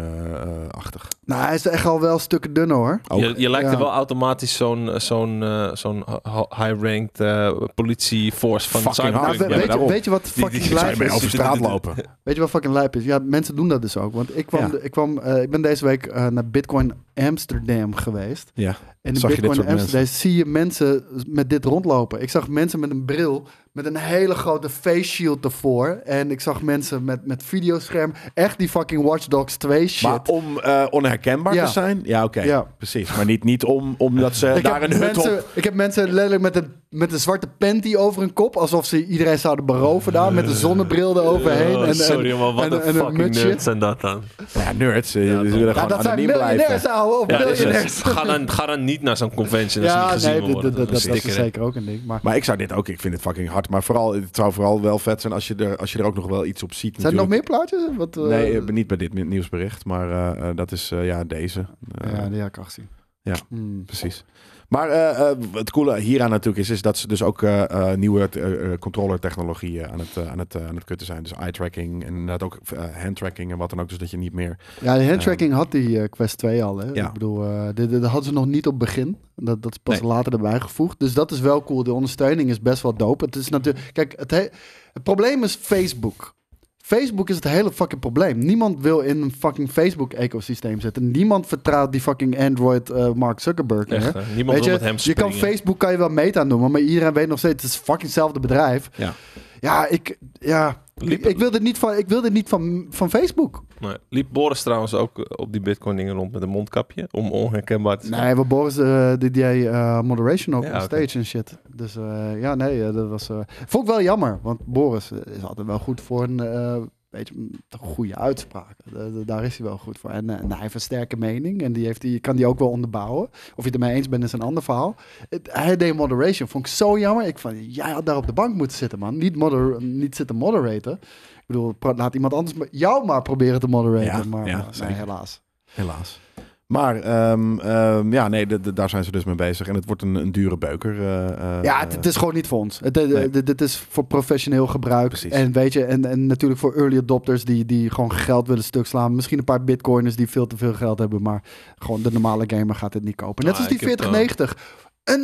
S1: PlayStation-achtig.
S3: Nou, hij is echt al wel stukken dunner hoor.
S1: ook.
S2: je, je lijkt
S3: Ja.
S2: er wel automatisch zo'n eh, zo'n eh, zo'n ho- high-ranked eh, politieforce van
S1: Fucking
S2: Cyberpunk.
S1: hard.
S3: Nou, we-
S1: Ja,
S3: weet, je,
S1: daarom.
S3: weet je wat
S2: die- die-
S3: fucking
S1: ik
S3: lijp
S1: zou je
S3: is?
S1: mee over straat
S2: dit- dit-
S1: lopen.
S3: Weet je wat fucking lijp is? Ja, mensen doen dat dus ook. Want ik, kwam,
S1: Ja.
S3: de- ik, kwam, eh, ik ben deze week eh, naar Bitcoin Amsterdam geweest.
S1: Ja.
S3: En in
S1: Zag je dit
S3: Bitcoin
S1: soort
S3: Amsterdam zie je mensen met dit rondlopen. Ik zag mensen met een bril, met een hele grote face shield ervoor. En ik zag mensen met, met videoscherm. Echt die fucking Watch Dogs 2 shit.
S1: Maar om eh, onherkenbaar
S3: Ja.
S1: te zijn? Ja, oké.
S3: Ja.
S1: Precies. Maar niet, niet om, omdat ze
S3: ik,
S1: daar
S3: heb
S1: een hut
S3: mensen,
S1: op...
S3: ik heb mensen letterlijk met een, met een zwarte panty over hun kop. Alsof ze iedereen zouden beroven daar. Met een zonnebril
S1: Eh,
S3: eroverheen.
S2: Oh,
S3: en,
S2: sorry,
S3: en,
S2: man, wat
S3: en-
S2: een
S3: en een
S2: fucking
S3: mutsje.
S2: nerds zijn dat dan.
S1: Ja, nerds. eh, ze willen
S3: Ja,
S1: gewoon
S3: dat zijn
S1: anoniem blijven.
S3: miljonairs, ouwe. Of
S2: Ja, dat is het.
S3: miljonairs.
S2: Ga, dan, ga dan niet naar zo'n convention als je niet
S3: Ja,
S2: gezien
S3: nee,
S2: wil
S3: dat-
S2: worden.
S3: dat- dat-
S2: Dat is
S3: dat is
S2: stikker, hè.
S3: zeker ook een ding. Maar
S1: Maar ik zou dit ook, ik vind het fucking hard. Maar vooral, het zou vooral wel vet zijn als je er, als je er ook nog wel iets op ziet.
S3: zijn er nog
S1: natuurlijk.
S3: meer plaatjes? Wat, eh,
S1: Nee, eh, niet bij dit mi- nieuwsbericht, maar eh, eh, dat is eh, ja, deze. Eh,
S3: ja, die had ik al gezien.
S1: Ja.
S3: Hmm.
S1: Precies. Maar eh, eh, het coole hieraan natuurlijk is, is dat ze dus ook eh, eh, nieuwe eh, eh, controller-technologieën aan het, eh, aan, het, eh, aan het kutten zijn. Dus eye-tracking en inderdaad ook eh, hand handtracking en wat dan ook. Dus dat je niet meer...
S3: Ja, de handtracking had die eh, Quest 2 al. Hè?
S1: Ja.
S3: Ik bedoel, eh, dit, dit hadden ze nog niet op begin. Dat, dat is pas
S1: Nee.
S3: later erbij gevoegd. Dus dat is wel cool. De ondersteuning is best wel dope. Het is natuurlijk... Kijk, het, he- het probleem is Facebook. Facebook is het hele fucking probleem. Niemand wil in een fucking Facebook-ecosysteem zitten. Niemand vertrouwt die fucking Android eh, Mark Zuckerberg. meer.
S2: Echt, hè. niemand
S3: Weet
S2: wil met
S3: je,
S2: hem
S3: je
S2: springen.
S3: kan Facebook kan je wel meta noemen, maar iedereen weet nog steeds, het is fucking hetzelfde bedrijf.
S1: Ja.
S3: Ja, ik, ja, ik,
S2: Liep-
S3: ik wil dit niet van, ik wil dit niet van, van Facebook.
S2: Nee. Liep Boris trouwens ook eh, op die bitcoin dingen rond met een mondkapje? Om onherkenbaar te zijn.
S3: Nee, we Boris eh, die deed eh, moderation ook
S2: Ja,
S3: on
S2: oké.
S3: stage en shit. Dus eh, ja, nee, eh, dat was, eh, vond ik wel jammer, want Boris eh, is altijd wel goed voor een, eh, weet je, een goede uitspraak. Eh, eh, daar is hij wel goed voor. En, eh, en hij heeft een sterke mening en die, heeft die kan die ook wel onderbouwen. Of je het ermee eens bent is een ander verhaal. Het- hij deed moderation, vond ik zo jammer. Ik van, jij had daar op de bank moeten zitten, man. Niet, moder niet zitten moderaten. Ik bedoel, pra- laat iemand anders maar- jou maar proberen te moderaten.
S1: Ja,
S3: maar
S1: ja,
S3: eh, nee,
S1: zeker.
S3: helaas.
S1: Helaas. Maar ehm, ehm, ja, nee, de- de- daar zijn ze dus mee bezig. En het wordt een, een dure beuker. eh, eh,
S3: Ja, het, het is gewoon niet voor ons. Het, het-
S1: Nee.
S3: dit, dit is voor professioneel gebruik.
S1: Precies.
S3: En weet je, en, en natuurlijk voor early adopters die, die gewoon geld willen stuk slaan. Misschien een paar bitcoiners die veel te veel geld hebben, maar gewoon de normale gamer gaat het niet kopen. Net
S2: Nou,
S3: als die
S2: ik heb, eh,
S3: 4090. Een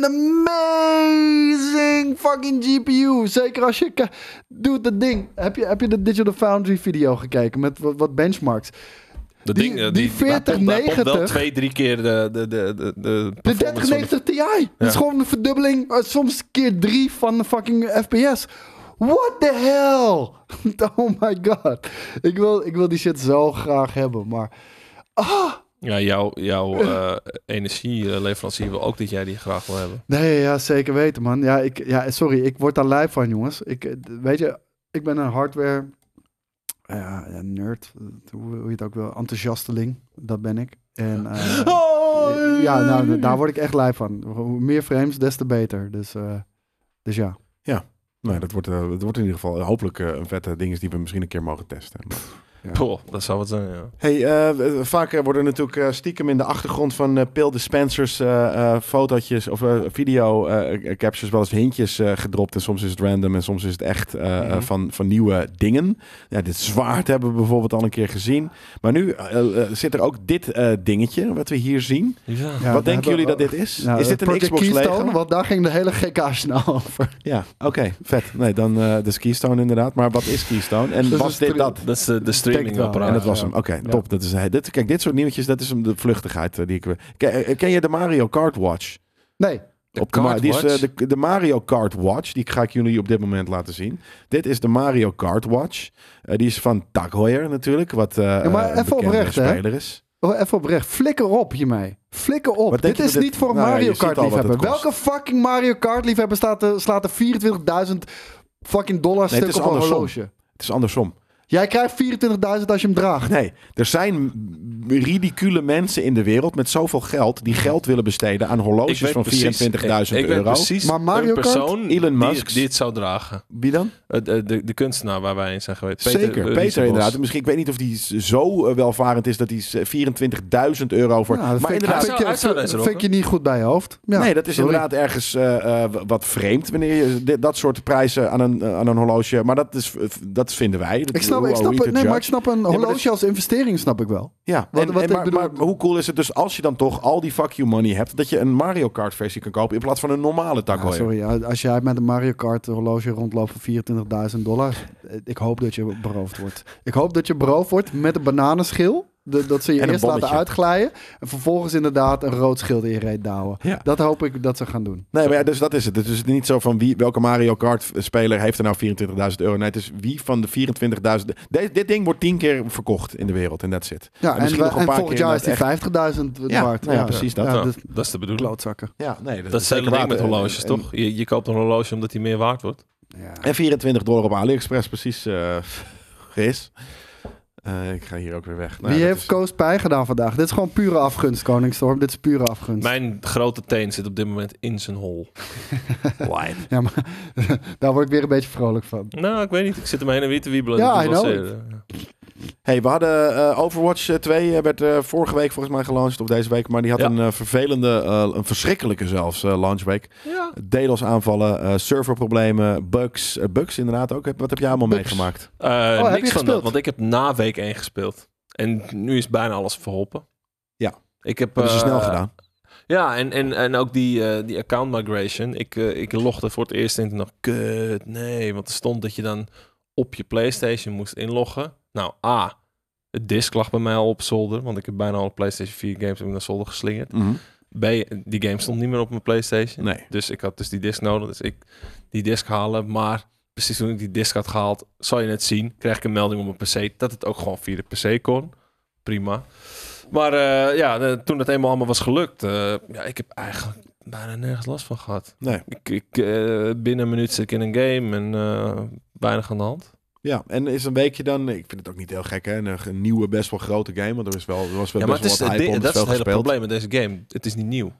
S3: amazing fucking GPU. Zeker als je... ki- Dude, dat ding. Heb je, heb je de Digital Foundry video gekeken met wat, wat benchmarks?
S2: Dat
S3: Die-
S2: ding, eh,
S3: die
S2: die, daar pompt- daar pompt
S3: 4090.
S2: wel twee, drie keer de... de, de, de, de
S3: De
S2: performance van
S3: 3090 Ti. Dat is gewoon een verdubbeling, eh, soms keer drie van de fucking FPS. What the hell? Oh my god. Ik wil, ik wil die shit zo graag hebben, maar...
S2: Ja, jouw, jouw eh, energieleverancier wil ook dat jij die graag wil hebben.
S3: Nee, ja, zeker weten, man. Ja, ik, ja, sorry, ik word daar lijp van, jongens. Ik, eh, weet je, ik ben een hardware... Ja, ja, nerd. Hoe, hoe je het ook wil. Enthousiasteling. Dat ben ik. En, eh, ja, nou, daar word ik echt lijp van. Hoe meer frames, des te beter. Dus, eh, dus ja.
S1: Nou, dat wordt, eh, dat wordt in ieder geval hopelijk eh, een vette ding is die we misschien een keer mogen testen.
S2: Poh, dat zou wat zijn, ja.
S1: Hey, eh, eh, vaak eh, worden natuurlijk eh, stiekem in de achtergrond van eh pil dispensers eh, eh, fotootjes of eh, video eh, eh, captures wel eens hintjes eh, gedropt. En soms is het random en soms is het echt eh, eh,
S2: Mhm.
S1: van, van nieuwe dingen. Ja, dit zwaard hebben we bijvoorbeeld al een keer gezien. Maar nu eh, eh, zit er ook dit eh, dingetje wat we hier zien.
S2: Ja.
S3: Ja,
S1: wat
S3: daar
S1: denken
S3: hebben
S1: jullie
S3: we-
S1: dat dit is?
S3: Nou,
S1: is dit een
S3: Project
S1: Xbox
S3: Keystone,
S1: Lego?
S3: Want daar ging de hele gekke nou over.
S1: Ja, oké, vet. Nee, dan eh dus Keystone inderdaad. Maar wat is Keystone? En
S3: Dus
S1: was
S3: een
S1: dit
S3: stre-
S1: dat?
S2: Dat is eh, de, de
S3: wel,
S2: streamingapparaat.
S1: en dat was
S3: ja.
S1: hem. Oké,
S3: Ja.
S1: top. Dat is, hij. dit, kijk, dit soort nieuwtjes, dat is hem de vluchtigheid eh, die ik... Ken, eh, ken je de Mario Kart Watch?
S3: Nee,
S2: De
S1: de, ma-
S2: Kart
S1: die is, eh,
S2: Watch?
S1: de, de Mario Kart Watch, die ga ik jullie op dit moment laten zien. Dit is de Mario Kart Watch. Eh, die is van Tag Heuer natuurlijk, wat eh
S3: Ja, maar
S1: een
S3: even
S1: bekende
S3: oprecht, hè?
S1: speler is.
S3: oh, even oprecht. Flikker op hiermee. Flikker op.
S1: Wat denk
S3: dit
S1: je
S3: is
S1: dat dit-
S3: niet voor een
S1: nou ja,
S3: Mario
S1: je ziet
S3: Kart
S1: al wat het
S3: liefhebber.
S1: kost.
S3: Welke fucking Mario Kart liefhebber staat er, slaat er 24.000 fucking dollar
S1: Nee, het
S3: stuk
S1: is
S3: op een
S1: andersom.
S3: horloge?
S1: Het is andersom.
S3: Jij krijgt 24.000 als je hem draagt.
S1: Nee, er zijn m- ridicule mensen in de wereld met zoveel geld... die geld willen besteden aan
S2: Ik
S1: horloges
S2: weet
S1: van 24.000
S2: precies- ik- ik weet
S1: euro.
S2: precies
S3: Maar Mario
S2: een
S3: Kart?
S2: persoon
S1: Elon
S2: die
S1: Musk.
S2: dit zou dragen.
S1: Wie dan?
S2: Eh, de, de, de kunstenaar waar wij in zijn geweest.
S1: Zeker,
S2: eh,
S1: Peter
S2: Riesenbos.
S1: inderdaad. Misschien, ik weet niet of die z- zo eh, welvarend is dat hij z- 24.000 euro voor...
S3: Ja,
S1: maar
S3: dat Nou, vind ik-
S1: inderdaad,
S2: Hij zou-
S3: vind
S2: hij
S3: ik-
S2: zou
S3: vind-
S2: deze
S3: vind ik je niet goed bij je hoofd. Ja,
S1: nee, dat is
S3: sorry.
S1: inderdaad ergens eh, eh, w- wat vreemd wanneer je dit- dat soort prijzen aan een, eh, aan een horloge... Maar dat, is, eh, v- dat vinden wij. Dat,
S3: Ik snap,
S1: who are
S3: ik
S1: we
S3: snap
S1: to
S3: het. Nee, maar ik
S1: judge?
S3: snap een
S1: maar dat-
S3: horloge als investering, snap ik wel.
S1: Ja,
S3: Wat-
S1: en,
S3: wat
S1: en
S3: ik
S1: maar,
S3: bedoel-
S1: maar hoe cool is het dus als je dan toch al die fuck you money hebt... dat je een Mario Kart versie kan kopen in plaats van een normale
S3: Ah,
S1: takkel.
S3: sorry, ja, als jij met een Mario Kart horloge rondloopt voor 24.000 dollar, eh, ik hoop dat je beroofd wordt. Ik hoop dat je beroofd wordt met een bananenschil. de- dat ze je
S1: En een
S3: eerst laten
S1: bonnetje.
S3: uitglijden. En vervolgens inderdaad een rood schild in je reet douwen.
S1: Ja.
S3: Dat hoop ik dat ze gaan doen.
S1: Nee, maar ja, dus dat is het. Dus het is niet zo van wie, welke Mario Kart speler heeft er nou 24.000 euro. Nee, het is wie van de 24.000... De- dit ding wordt 10 keer verkocht in de wereld en that's it.
S3: Ja,
S1: En
S3: en,
S1: misschien
S3: wij-
S1: nog een
S3: en
S1: paar
S3: volgend
S1: keer
S3: jaar is die
S1: inderdaad
S3: 50.000
S1: Ja,
S3: waard.
S1: nou ja, precies dat.
S2: Ja,
S3: de
S2: dat is de bedoeling.
S3: klootzakken.
S1: Ja, nee, dat,
S2: Dat is het
S1: zeker
S2: ding
S1: waar.
S2: met horloges,
S1: En-
S2: toch? Je, je koopt een horloge omdat hij meer waard wordt.
S3: Ja.
S1: En 24 dollar op AliExpress, precies. eh Gis. Eh, ik ga hier ook weer weg. Nou,
S3: Wie
S1: dat
S3: heeft
S1: is-
S3: Koos Pij gedaan vandaag? Dit is gewoon pure afgunst, Koningstorm. Dit is pure afgunst.
S2: Mijn grote teen zit op dit moment in zijn hol. Wine.
S3: Ja, maar daar word ik weer een beetje vrolijk van.
S2: Nou, ik weet niet. Ik zit hem heen en weer te wiebelen. Ik
S3: Ja,
S2: doe
S3: I
S2: wel
S3: know
S2: zeer, eh.
S1: Hey, we hadden eh, Overwatch eh, 2 eh, werd eh, vorige week volgens mij gelanceerd, of deze week. Maar die had
S2: Ja.
S1: een eh, vervelende, eh, een verschrikkelijke zelfs, eh, launchweek.
S2: Ja.
S1: DDoS aanvallen, eh, serverproblemen, bugs. Eh, bugs inderdaad ook. Heb- Wat heb jij allemaal
S3: Bugs.
S1: meegemaakt?
S2: Eh,
S3: Oh, heb je
S2: niks van
S3: gespeeld?
S2: dat, want ik heb na week 1 gespeeld. En nu is bijna alles verholpen.
S1: Ja.
S2: Ik heb...
S1: Dat is
S2: eh,
S1: snel gedaan.
S2: Ja, en, en, en ook die, eh, die account migration. Ik, eh, ik logde voor het eerst en toen dacht ik, kut, nee. Want er stond dat je dan op je Playstation moest inloggen. Nou, A, het disk lag bij mij al op zolder. Want ik heb bijna alle Playstation 4 games heb ik naar zolder geslingerd.
S1: Mhm.
S2: B, die game stond niet meer op mijn Playstation.
S1: Nee.
S2: Dus ik had dus die disk nodig. Dus ik die disk halen. Maar precies toen ik die disk had gehaald, zal je net zien, kreeg ik een melding op mijn PC dat het ook gewoon via de PC kon. Prima. Maar eh, ja, de- toen het eenmaal allemaal was gelukt, eh, ja, ik heb eigenlijk bijna nergens last van gehad.
S1: Nee.
S2: Ik, ik, eh, binnen een minuut zit ik in een game en eh, weinig aan de hand.
S1: Ja, en is een weekje dan... Ik vind het ook niet heel gek, hè? Een, een nieuwe, best wel grote game. Want er is wel, er was wel
S2: Ja, maar het
S1: best
S2: is,
S1: wel wat hype om.
S2: dat
S1: er
S2: is het
S1: veel
S2: hele
S1: gespeeld.
S2: probleem met deze game. Het is niet nieuw.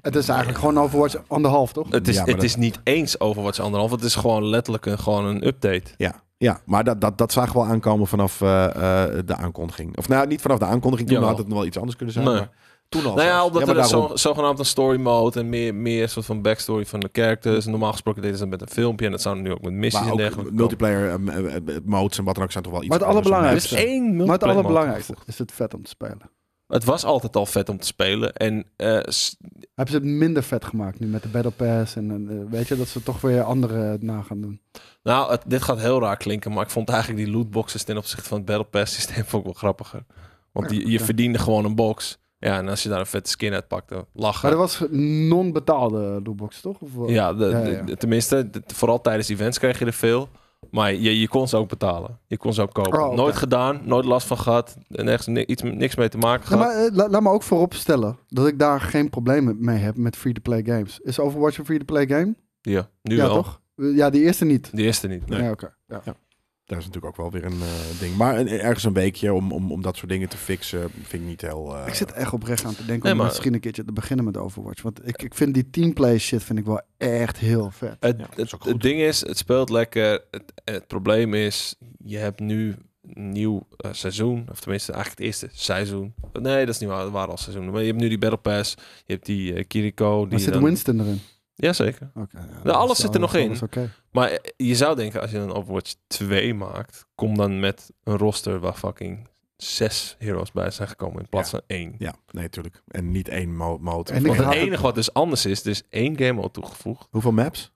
S3: Het is eigenlijk gewoon Overwatch anderhalf, toch?
S2: Het is,
S1: Ja, maar
S2: het
S1: dat-
S2: is niet eens over wat ze anderhalf. Het is gewoon letterlijk een, gewoon een update.
S1: Ja. Ja, maar dat, dat, dat zag wel aankomen vanaf eh, eh, de aankondiging. Of nou, niet vanaf de aankondiging. Toen
S2: Jawel.
S1: had het nog wel iets anders kunnen zijn.
S2: Nee.
S1: Maar toen al.
S2: Nou ja,
S1: zelfs.
S2: omdat
S1: maar
S2: er
S1: daarom.
S2: zo, zogenaamd een story mode en meer, meer soort van backstory van de characters. Normaal gesproken deden ze dat met een filmpje en dat zou nu ook met missies
S1: Maar
S2: en
S1: ook
S2: dergelijke.
S1: multiplayer eh, eh, eh, modes en wat dan ook zijn toch wel iets
S3: Maar het
S1: anders.
S2: Er
S3: allerbelangrijkste-
S2: is één
S3: Maar het
S2: multiplayer mode
S3: allerbelangrijkste
S2: toegevoegd.
S3: is het vet om te spelen.
S2: Het was altijd al vet om te spelen en eh, s-
S3: Hebben ze het minder vet gemaakt nu met de Battle Pass en eh, weet je, dat ze toch weer andere eh, na gaan doen.
S2: Nou, het- dit gaat heel raar klinken, maar ik vond eigenlijk die lootboxes ten opzichte van het Battle Pass systeem vond ik wel grappiger. Want
S3: Ja,
S2: die, je
S3: ja.
S2: verdiende gewoon een box. Ja, en als je daar een vette skin uit pakte, lachen.
S3: Maar dat was non-betaalde lootbox, toch? Of, eh? wel?
S2: Ja, de-
S3: Ja,
S2: de-
S3: ja.
S2: de- tenminste, de- vooral tijdens events kreeg je er veel. Maar je, je kon ze ook betalen. Je kon ze ook kopen.
S3: Oh, oké.
S2: Nooit gedaan, nooit last van gehad. Nergens, ni- iets, niks mee te maken
S3: Ja,
S2: gehad.
S3: maar eh, la- laat me ook vooropstellen dat ik daar geen probleem mee heb met free-to-play games. Is Overwatch een free-to-play game?
S2: Ja, nu
S3: ja,
S2: wel.
S3: toch? Eh, Ja, die eerste niet.
S2: De eerste niet.
S1: Nee.
S3: Ja, oké. Ja.
S1: Daar is natuurlijk ook wel weer een eh, ding. Maar een- ergens een weekje om, om, om dat soort dingen te fixen vind ik niet heel... eh,
S3: Ik zit echt oprecht aan te denken
S2: Nee,
S3: om
S2: maar-
S3: misschien een keertje te beginnen met Overwatch. Want ik, ik vind die teamplay shit vind ik wel echt heel vet.
S2: Het,
S1: Ja, dat is
S2: het,
S1: ook
S2: het
S1: goed.
S2: ding is, het speelt lekker. Het, het probleem is, je hebt nu een nieuw eh, seizoen. Of tenminste, eigenlijk het eerste seizoen. Nee, dat is niet waar. Het waren al seizoenen. Maar je hebt nu die Battle Pass. Je hebt die eh, Kiriko. Die
S3: Maar zit
S2: dan...
S3: Winston erin?
S2: Jazeker.
S3: Oké. ja,
S2: Nou, alles
S3: dat is-
S2: zit er nog
S3: dat
S2: in.
S3: is oké.
S2: Maar eh, je zou denken, als je een Overwatch 2 maakt... kom dan met een roster waar fucking zes heroes bij zijn gekomen... in plaats
S1: Ja.
S2: van één.
S1: Ja, nee, natuurlijk. En niet één mo- mode.
S3: En ik
S2: Want
S1: Hoeveel-
S2: het
S3: haat het-
S2: enige wat dus anders is, er is één game al toegevoegd.
S1: Hoeveel maps?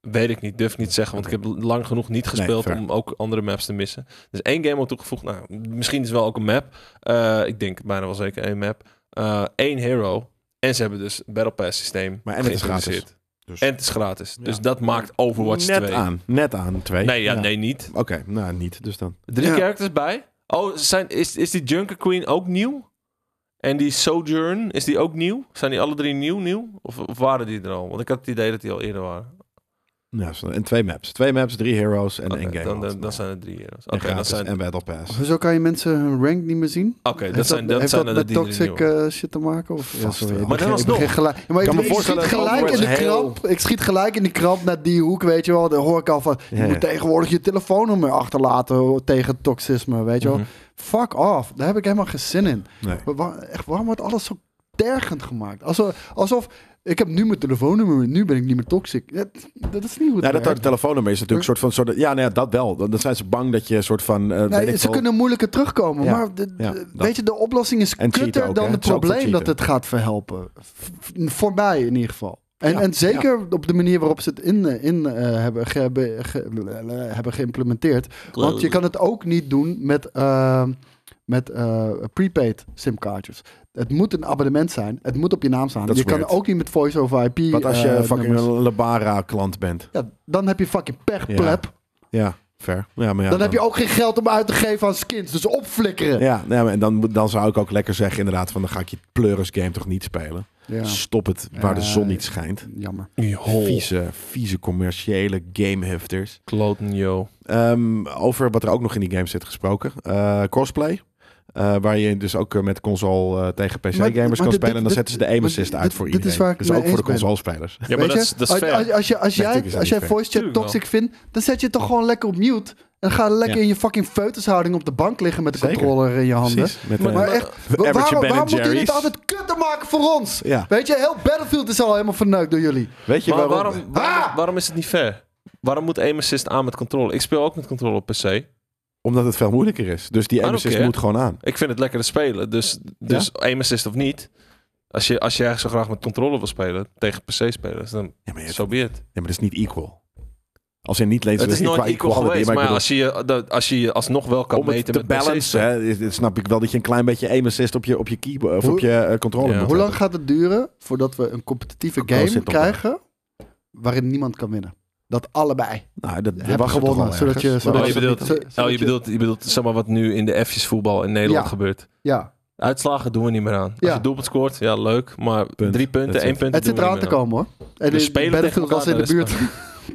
S2: Weet ik niet, durf niet zeggen, want ik heb lang genoeg niet gespeeld
S1: fair.
S2: om ook andere maps te missen. Dus één game al toegevoegd. Nou, misschien is wel ook een map. Eh, ik denk bijna wel zeker één map. Eh, Eén hero. En ze hebben dus Battle Pass systeem
S1: Maar en het is gratis.
S2: geïntroduceerd.
S1: Dus-
S2: En het is gratis.
S1: Ja.
S2: Dus dat maakt Overwatch
S1: net
S2: 2.
S1: aan. Net aan, twee.
S2: Nee, ja,
S3: Ja.
S2: nee, niet.
S1: Oké, nou niet. Dus dan.
S2: Drie
S3: Ja.
S2: characters bij. Oh, zijn, is, is die Junker Queen ook nieuw? En die Sojourn, is die ook nieuw? Zijn die alle drie nieuw, nieuw? Of, of waren die er al? Want ik had het idee dat die al eerder waren.
S1: Ja, zo- en twee maps. Twee maps, drie heroes en
S2: Oké,
S1: één game.
S2: dan,
S1: mode.
S2: dan, dan zijn er drie heroes. Oké,
S1: en
S2: dan
S1: gratis
S2: zijn,
S1: en Battle Pass.
S3: Hoezo kan je mensen hun rank niet meer zien?
S2: oké, dat,
S3: Heeft
S2: zijn, dat,
S3: heeft
S2: zijn
S3: dat
S2: er
S3: met
S2: die drie
S3: toxic
S2: nieuwe.
S3: eh, shit te maken? Of, ja,
S1: Vast
S3: sorry,
S1: wel.
S3: ik
S2: Maar dan
S3: begin- ik
S2: alsnog.
S3: begin gelijk, Ja, maar ik,
S1: Kan me
S3: ik schiet
S1: voorstellen dat
S3: gelijk in de
S1: Overwatch heel-
S3: krap. Ik schiet gelijk in die krap naar die hoek, weet je wel. Dan hoor ik al van, je
S1: Ja, ja.
S3: moet tegenwoordig je telefoonnummer achterlaten hoor, tegen toxisme, weet je wel.
S2: Mhm.
S3: Fuck off, daar heb ik helemaal geen zin in.
S1: Nee.
S3: Maar waar- echt, waarom wordt alles zo tergend gemaakt? Alsof, alsof ik heb nu mijn telefoonnummer, nu ben ik niet meer toxic. Dat, dat is niet hoe het
S1: Nou, dat
S3: werkt.
S1: dat telefoonnummer is natuurlijk een soort van... Soort, ja, nou ja, dat wel. Dan, dan zijn ze bang dat je een soort van... eh, weet
S3: Nee,
S1: ik
S3: ze
S1: wel-
S3: kunnen moeilijker terugkomen.
S1: Ja,
S3: Maar de-
S1: ja,
S3: de-
S1: dat.
S3: weet je, de oplossing is
S1: En cheaten
S3: kutter
S1: ook,
S3: dan
S1: hè?
S3: het
S1: Het is ook voor
S3: probleem dat
S1: cheaten.
S3: het gaat verhelpen. V- voor mij in ieder geval. En,
S1: Ja,
S3: en zeker op de manier waarop ze het in, eh, in eh, hebben, ge- hebben, ge- hebben geïmplementeerd. Want je kan het ook niet doen met, eh, met eh, prepaid simkaartjes. Het moet een abonnement zijn. Het moet op je naam staan.
S1: Dat is
S3: Je kan
S1: weird.
S3: ook niet met voice over IP.
S1: Wat als je
S3: eh,
S1: fucking
S3: nummers.
S1: een Lebara-klant bent?
S3: Ja, dan heb je fucking pech,
S1: Ja.
S3: pleb.
S1: Ja, fair. Ja, maar ja,
S3: dan heb je ook geen geld om uit te geven aan skins. Dus opflikkeren.
S1: Ja, nee, maar en dan, dan zou ik ook lekker zeggen inderdaad van... dan ga ik je pleuris game toch niet spelen.
S3: Ja.
S1: Stop het waar de
S3: Ja,
S1: zon niet schijnt.
S3: Jammer.
S1: Vieze, vieze commerciële gamehifters.
S2: Kloten, yo.
S1: Ehm, over wat er ook nog in die game zit gesproken. eh, crossplay. Eh, waar je dus ook eh, met console eh, tegen
S3: Maar- maar
S1: PC-gamers kan
S3: dit-
S1: spelen. En dan
S3: dit-
S1: zetten ze de aim
S3: maar
S1: assist
S3: dit-
S1: uit voor
S3: dit
S1: iedereen.
S3: is waar ik
S1: dus
S3: het mee
S1: ook voor de
S3: eens ben.
S1: consolespelers.
S2: Ja, maar
S3: Weet
S2: dat is,
S3: je?
S2: dat is fair.
S3: Als, als, als, je,
S1: Nee,
S3: als jij,
S1: natuurlijk is dat
S3: als jij
S1: niet fair.
S3: voice chat
S2: Tuurlijk wel.
S3: toxic vindt, dan zet je het toch gewoon lekker op mute. En ga lekker
S1: Ja.
S3: in je fucking feutushouding op de bank liggen met de
S1: Zeker.
S3: controller in je handen.
S1: Precies. Met,
S2: Maar-
S1: eh,
S3: Maar
S2: Ja.
S3: echt, wa-
S1: Average
S3: waarom,
S1: Ben
S3: waarom moeten jullie het
S1: Jerry's.
S3: altijd kutter maken voor ons?
S1: Ja.
S3: Weet je, heel Battlefield is al helemaal verneukt door jullie.
S1: weet je
S2: Maar
S1: waarom?
S2: waarom,
S3: Ah!
S2: waarom, waarom is het niet fair? Waarom moet aim assist aan met controle? Ik speel ook met controle op PC.
S1: Omdat het veel moeilijker is. Dus die
S2: I
S1: aim
S2: don't
S1: assist
S2: care.
S1: moet gewoon aan.
S2: Ik vind het lekker te spelen. Dus, dus aim assist of niet. Als, je, als jij zo graag met controle wil spelen, tegen PC-spelers, dan
S1: Ja, maar, je-
S2: zo so be it.
S1: ja, maar dat is niet equal. Als in niet lezen,
S2: Het is
S1: niet
S2: nooit
S1: qua
S2: equal
S1: equality,
S2: geweest,
S1: ik
S2: maar
S1: bedoel-
S2: als je, je- dat- als je je alsnog wel kan
S1: om het
S2: meten
S1: te
S2: met
S1: balancen,
S2: PC-spelers.
S1: hè, is- is- snap ik wel dat je een klein beetje aim assist op je, op je keyboard of
S3: Hoe-
S1: op je eh, controller
S2: Ja.
S1: moet
S3: Hoe lang
S1: hebben.
S3: gaat het duren voordat we een competitieve
S1: Oh, zit
S3: game
S1: op de-
S3: krijgen waarin niemand kan winnen? Dat allebei
S1: Nou, dat
S3: hebben
S1: was
S3: gewonnen. Zodat je, zodat
S2: Oh, je bedoelt-
S3: zo- zodat
S2: Oh, je bedoelt, je bedoelt zeg maar, wat nu in de F's voetbal in Nederland
S3: Ja.
S2: gebeurt.
S3: Ja,
S2: Uitslagen doen we niet meer aan. Als
S3: Ja.
S2: je doelpunt scoort, ja leuk. Maar
S1: Punt.
S2: drie punten,
S1: That's
S2: één
S1: it.
S2: punt.
S3: het zit eraan te komen hoor. En
S2: We
S3: de
S2: spelen tegen
S3: Battlefield was in
S2: elkaar,
S3: de buurt.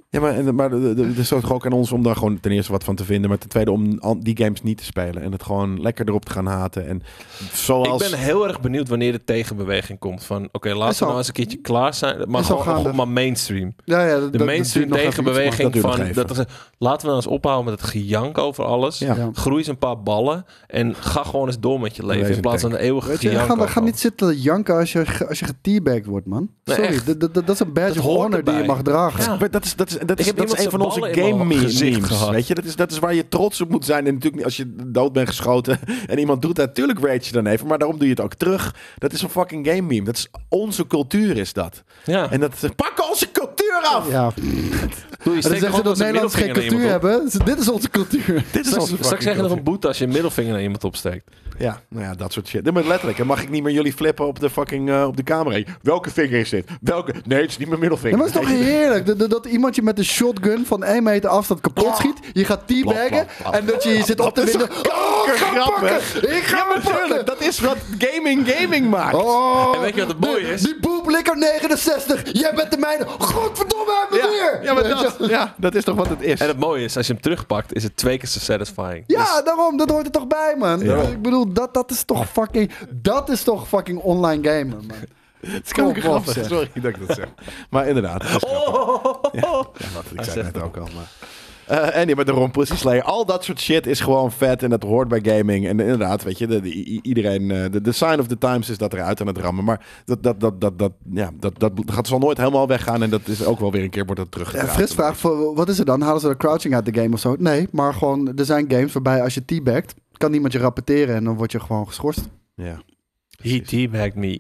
S1: Ja, maar, en- maar de- de- de- het is toch ook aan ons om daar gewoon ten eerste wat van te vinden. Maar ten tweede om an- die games niet te spelen. En het gewoon lekker erop te gaan haten. En zoals...
S2: Ik ben heel erg benieuwd wanneer de tegenbeweging komt. Van oké, laten
S3: Is al-
S2: we nou eens een keertje klaar zijn. Maar
S3: Is al
S2: gewoon, gewoon
S3: gaande.
S2: maar mainstream.
S3: Ja, ja, dat-
S2: De
S3: dat-
S2: mainstream
S3: dat duurt nog even iets, maar-
S2: tegenbeweging
S1: iets, maar dat duurt
S2: van...
S1: nog
S2: Dat er, laten we nou eens ophouden met het gejank over alles.
S1: Ja.
S3: Ja.
S2: Groei eens een paar ballen. En ga gewoon eens door met je leven.
S1: Wees
S2: in
S1: een
S2: plaats van
S1: tank.
S2: een eeuwige
S3: Weet je,
S2: gejank.
S3: ga,
S2: over
S3: ga niet
S2: alles.
S3: zitten janken als je, ge- als je geteabagged wordt, man.
S2: Nee,
S3: Sorry,
S2: echt.
S3: dat, dat, dat is een badge
S2: Dat
S3: of
S2: hoort
S3: honor die je
S2: erbij.
S3: mag dragen.
S2: Ja.
S1: Maar dat is, dat is, dat
S2: Ik
S1: is,
S2: heb
S1: dat
S2: iemand
S1: is een
S2: zijn
S1: van onze
S2: ballen in mijn
S1: game memes.
S2: gezicht gehad.
S1: Weet je? Dat, is, dat is waar je trots op moet zijn. En natuurlijk niet als je dood bent geschoten en iemand doet dat. Natuurlijk rage je dan even, maar daarom doe je het ook terug. Dat is een fucking game meme. Dat is, onze cultuur is dat.
S2: Ja.
S1: En dat pak onze cultuur af!
S3: Ja,
S2: Doe je steekt
S3: en Ah, dan zeggen ze
S2: gewoon
S3: dat
S2: zijn
S3: Nederlanders geen
S2: middelvinger
S3: cultuur
S2: naar iemand op.
S3: hebben. Dit is onze cultuur.
S1: Dit is onze
S2: Straks, straks
S1: fucking
S2: krijg je nog
S1: cultuur.
S2: een boete als je een middelvinger naar iemand opsteekt.
S1: Ja, nou ja, dat soort shit. Nee, maar letterlijk, dan mag ik niet meer jullie flippen op de fucking eh, op de camera. Hey, Welke vinger is dit? Welke? Nee, het is niet mijn
S3: Ja,
S1: middelvinger.
S3: maar het is toch heerlijk dat, dat- dat iemand je met een shotgun van 1 meter afstand kapot schiet. Je gaat
S1: Plop,
S3: teabaggen
S1: plop, plop.
S3: en dat je je zit op te
S1: Dat is
S3: winden.
S1: toch
S3: Oh, ik ga hem
S1: kankergrappig?
S3: pakken! Ik ga hem
S1: Natuurlijk,
S3: pakken!
S1: dat is wat gaming gaming maakt.
S3: Oh,
S2: En weet je wat het
S3: die-
S2: mooie is?
S3: Die boeblikker 69, jij bent de mijne. Godverdomme, hij heeft me
S1: ja,
S3: weer!
S1: ja, maar
S3: Weet je?
S1: dat, ja, dat is toch wat het is.
S2: En het mooie is, als je hem terugpakt, is het twee keer zo satisfying.
S3: Ja, daarom, dat hoort er toch bij, man.
S1: Dus- Ja.
S3: Ik bedoel, dat, dat is toch fucking. Dat is toch fucking online gamen, man. Het is
S1: Kankergrappig, sorry dat ik dat zeg. Maar inderdaad. het is grappig. Ja, wat, ik zei
S2: zegt
S1: het net ook al, maar... Eh, en ja, maar daarom Pussy Slayer. Al dat soort shit is gewoon vet en dat hoort bij gaming. En inderdaad, weet je, de, de- i- iedereen... eh, De, de sign of the times is dat eruit aan het rammen. Maar dat, dat, dat, dat, dat, ja, dat, dat, gaat zal nooit helemaal weggaan. En dat is ook wel weer een keer wordt dat teruggedraaid.
S3: Eh, Frits vraagt, voor, wat is er dan? Halen ze de crouching uit de game of zo? Nee, maar gewoon, er zijn games waarbij als je teabagt, kan niemand je rapporteren en dan word je gewoon geschorst.
S1: Ja.
S2: He teabagged me.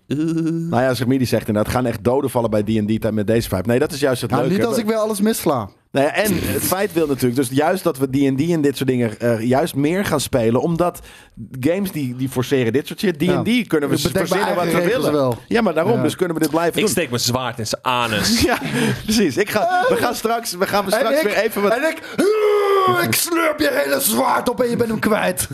S1: Nou ja, Zermie die zegt inderdaad, gaan echt doden vallen bij D&D tijd met deze vibe. Nee, dat is juist het
S3: Nou,
S1: leuke.
S3: niet als ik weer alles missla.
S1: Nou ja, en het feit wil natuurlijk dus juist dat we D&D en dit soort dingen eh, juist meer gaan spelen. Omdat games die, die forceren dit soort shit, D&D kunnen we
S3: Ik bedenk
S1: verzinnen
S3: mijn
S1: wat
S3: eigen
S1: we
S3: regels
S1: willen.
S3: wel.
S1: Ja, maar daarom,
S3: Ja.
S1: dus kunnen we dit blijven
S2: Ik
S1: doen.
S2: steek mijn zwaard in zijn anus.
S1: Ja, precies. Ik ga, we gaan straks, we gaan straks weer even wat...
S3: en ik, Oeh, ik slurp je hele zwaard op en je bent hem kwijt.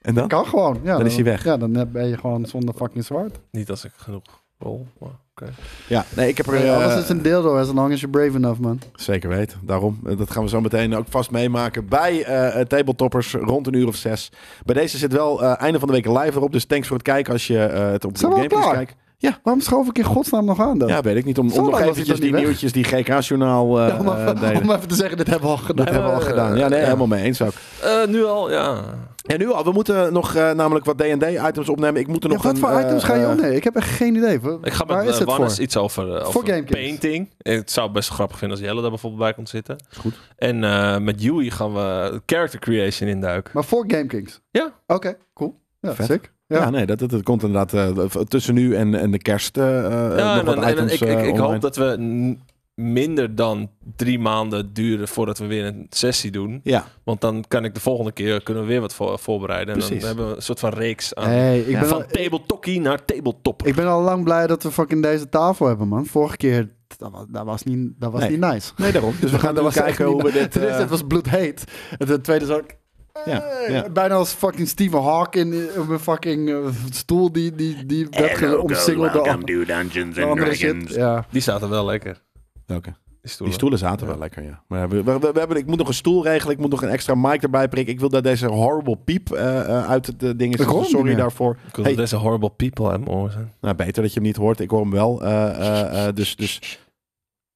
S1: En dan?
S3: Kan gewoon. Ja,
S1: Dan is hij weg.
S3: Ja, dan eh, ben je gewoon zonder fucking zwaard.
S2: Niet als ik genoeg rol. maar oké.
S1: Ja, nee, ik heb er...
S3: Ja, alles
S1: eh,
S3: is een deel door, as long as you're brave enough, man.
S1: Zeker weten. Daarom, eh, dat gaan we zo meteen ook vast meemaken bij eh eh, Tabletoppers rond een uur of zes. Bij deze zit wel eh, einde van de week live erop, dus thanks voor het kijken als je eh, het op
S3: Zijn we al
S1: Gameplus
S3: klaar?
S1: kijkt.
S3: Waarom schoof ik in godsnaam nog aan dan?
S1: Ja, weet ik niet. Om,
S3: Zo
S1: om nog
S3: lang was ik
S1: eventjes
S3: nog
S1: die
S3: niet weg.
S1: nieuwtjes, die GK-journaal eh
S3: om,
S1: eh,
S3: even,
S1: delen.
S3: om even te zeggen, dit hebben we al gedaan.
S1: Dat hebben we al gedaan. Ja, nee,
S2: ja.
S1: helemaal mee eens ook.
S2: Eh, nu al, ja.
S1: En nu al, we moeten nog eh, namelijk wat D&D-items opnemen. Ik moet er
S3: Ja,
S1: nog
S3: wat
S1: een,
S3: voor
S1: eh,
S3: items ga je
S1: eh,
S3: opnemen? Ik heb echt geen idee. Wa-
S2: Ik ga met
S3: Waar is
S2: eh,
S3: het
S2: Wannes
S3: voor?
S2: iets over, eh,
S3: Voor
S2: over
S3: GameKids.
S2: painting. Het zou best grappig vinden als Jelle daar bijvoorbeeld bij komt zitten.
S1: Is goed.
S2: En eh, met Yui gaan we character creation induiken.
S3: Maar voor GameKings?
S2: Ja.
S3: Oké, cool. Ja,
S1: Vet.
S3: sick. Ja.
S1: Ja, nee, dat, dat, dat komt inderdaad eh, tussen nu en, en de kerst eh eh,
S2: ja,
S1: nog
S2: en,
S1: wat
S2: en- en
S1: items
S2: ik, ik,
S1: eh,
S2: ik
S1: online.
S2: hoop dat we n- minder dan drie maanden duren voordat we weer een sessie doen.
S1: Ja,
S2: Want dan kan ik de volgende keer kunnen we weer wat voor, voorbereiden. En
S1: Precies.
S2: dan hebben we een soort van reeks aan.
S3: Hey, ik, ben
S2: van
S3: al,
S2: tabletokkie naar tabletop.
S3: ik ben al lang blij dat we fucking deze tafel hebben, man. Vorige keer, dat was, dat was, niet, dat was
S1: Nee.
S3: niet nice.
S1: nee, daarom. Dus we gaan
S3: Dat
S1: nu
S3: was echt
S1: kijken
S3: niet
S1: hoe we dit...
S3: Ten eerste,
S1: eh,
S3: het was bloedheet. En ten tweede zat ik...
S1: Ja,
S3: eh,
S1: ja.
S3: Bijna als fucking Stephen Hawking op een fucking eh, stoel die, die, die werd
S4: Hello,
S3: ge- omsingeld door
S4: welcome to
S3: an-
S4: Dungeons
S3: door
S4: and
S3: andere shit.
S4: Dragons.
S3: Ja.
S2: Die zaten wel lekker.
S1: Welke?
S2: Die stoelen.
S1: Die stoelen zaten wel lekker, ja. Maar we, we, we- we hebben, ik moet nog een stoel regelen. Ik moet nog een extra mic erbij prikken. Ik wil dat deze horrible piep eh, eh, uit het eh, ding is.
S3: Ik hoor hem niet
S1: Sorry
S3: meer.
S1: daarvoor.
S2: Ik wil
S1: Hey.
S2: deze horrible people uit mijn oren zijn.
S1: Nou, beter dat je hem niet hoort. Ik hoor hem wel. Eh, eh, eh, dus, dus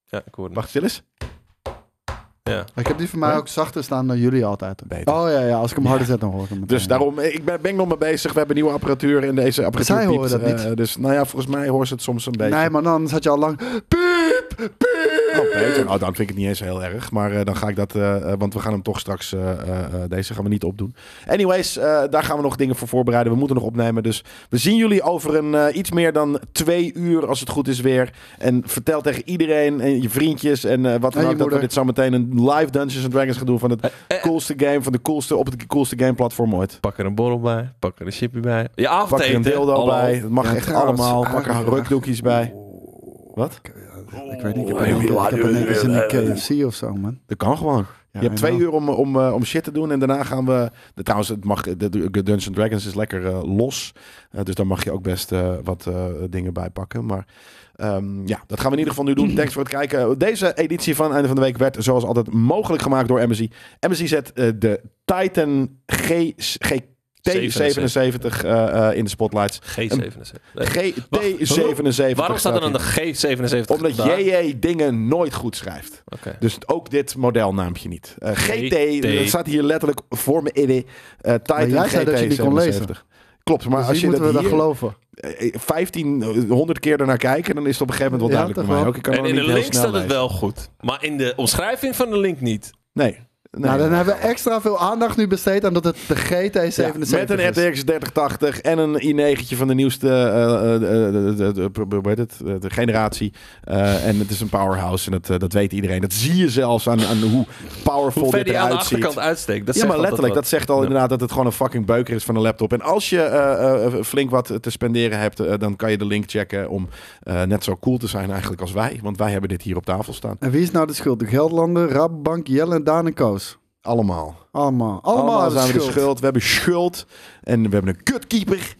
S2: Ja, ik hoor het.
S1: wacht stil eens.
S2: Ja.
S3: Ik heb die voor mij ook zachter staan dan jullie altijd.
S1: Beter.
S3: Oh ja, ja. Als ik hem harder zet, dan hoor ik hem. meteen.
S1: Dus daarom, eh, ik ben, ben ik nog mee bezig. We hebben nieuwe apparatuur en deze apparatuur
S3: Zij horen
S1: piept,
S3: dat
S1: eh, dus nou ja, volgens mij hoort ze het soms een beetje.
S3: Nee, maar anders had je al lang... Piep! Piep!
S1: Oh, beter. Nou, dan vind ik het niet eens heel erg. Maar eh, dan ga ik dat. eh, eh, want we gaan hem toch straks. eh, eh, eh, deze gaan we niet opdoen. Anyways, eh, daar gaan we nog dingen voor voorbereiden. We moeten nog opnemen. Dus we zien jullie over een, eh, iets meer dan twee uur. Als het goed is weer. En vertel tegen iedereen. En je vriendjes. En eh, wat dan
S3: En je
S1: ook. Dat we
S3: moeder.
S1: dit zometeen een live Dungeons and Dragons gaan doen. Van het
S2: eh.
S1: coolste game. Van de coolste. Op het coolste game platform ooit.
S2: Pak er een borrel bij. Pak er een chippy bij. Je
S1: Pak er
S2: avondeten.
S1: een dildo
S2: hallo.
S1: bij. Dat mag
S3: Ja,
S1: echt
S3: trouwens,
S1: allemaal. Pak er
S3: ah,
S1: rukdoekjes bij. Wat?
S2: Oh.
S1: Oh,
S3: Ik weet niet, ik heb een ik heb een- ik heb een KFC of zo, man.
S1: Dat kan gewoon.
S3: Ja,
S1: je hebt twee
S3: en
S1: uur om, om, eh, om shit te doen en daarna gaan we... De, trouwens, het mag, de, de Dungeons Dragons is lekker eh, los. Eh, dus daar mag je ook best eh, wat eh, dingen bij pakken. Maar ehm, ja, dat gaan we in ieder geval nu doen. Thanks voor het kijken. Deze editie van Einde van de Week werd zoals altijd mogelijk gemaakt door MSI. MSI zet eh, de Titan G, GT77 eh, eh, in de spotlights.
S2: G77. Nee.
S1: GT77.
S2: Waarom staat er dan de G77?
S1: Omdat
S2: daar?
S1: JJ dingen nooit goed schrijft.
S2: Oké.
S1: Dus ook dit modelnaampje niet. Eh, GT,
S2: GT.
S1: dat staat hier letterlijk voor me in. de, eh Titan
S3: jij zei
S1: GT
S3: dat je die kon
S1: 77. Klopt, maar
S3: dus
S1: als
S3: die
S1: je
S3: moeten
S1: dat
S3: we
S1: hier
S3: dan geloven.
S1: 1500 keer ernaar kijken, dan is het op een gegeven moment wel
S3: Ja,
S1: duidelijk
S3: toch
S1: voor mij.
S3: wel.
S1: Ook, ik kan
S2: En
S1: hem
S2: in de
S1: niet heel
S2: link
S1: snel
S2: staat het
S1: lezen.
S2: wel goed. Maar in de omschrijving van de link niet.
S1: Nee. nee.
S3: nou, dan hebben we extra veel aandacht nu besteed aan dat het de
S1: Ja,
S3: GT77
S1: met een
S3: is.
S1: RTX 3080 en een i9'tje van de nieuwste eh, eh, de- de- de- de- hoe heet het? Eh, de generatie. Eh, en het is een powerhouse en dat, eh, dat weet iedereen. Dat zie je zelfs aan, aan hoe powerful
S2: Hoe ver
S1: dit
S2: die aan de
S1: eruit
S2: achterkant
S1: ziet.
S2: uitsteekt. Dat
S1: Ja,
S2: zegt
S1: maar
S2: altijd
S1: letterlijk. Dat
S2: wat.
S1: zegt al
S2: Ja.
S1: inderdaad dat het gewoon een fucking beuker is van een laptop. En als je eh, eh, flink wat te spenderen hebt, eh, dan kan je de link checken om eh, net zo cool te zijn eigenlijk als wij. Want wij hebben dit hier op tafel staan.
S3: En wie is nou de schuld? De Gelderlander, Rabobank, Jelle en Daan en Koos.
S1: Allemaal.
S3: Allemaal. Allemaal, hebben
S1: zijn we de
S3: schuld.
S1: schuld. We hebben schuld. En we hebben een kutkeeper.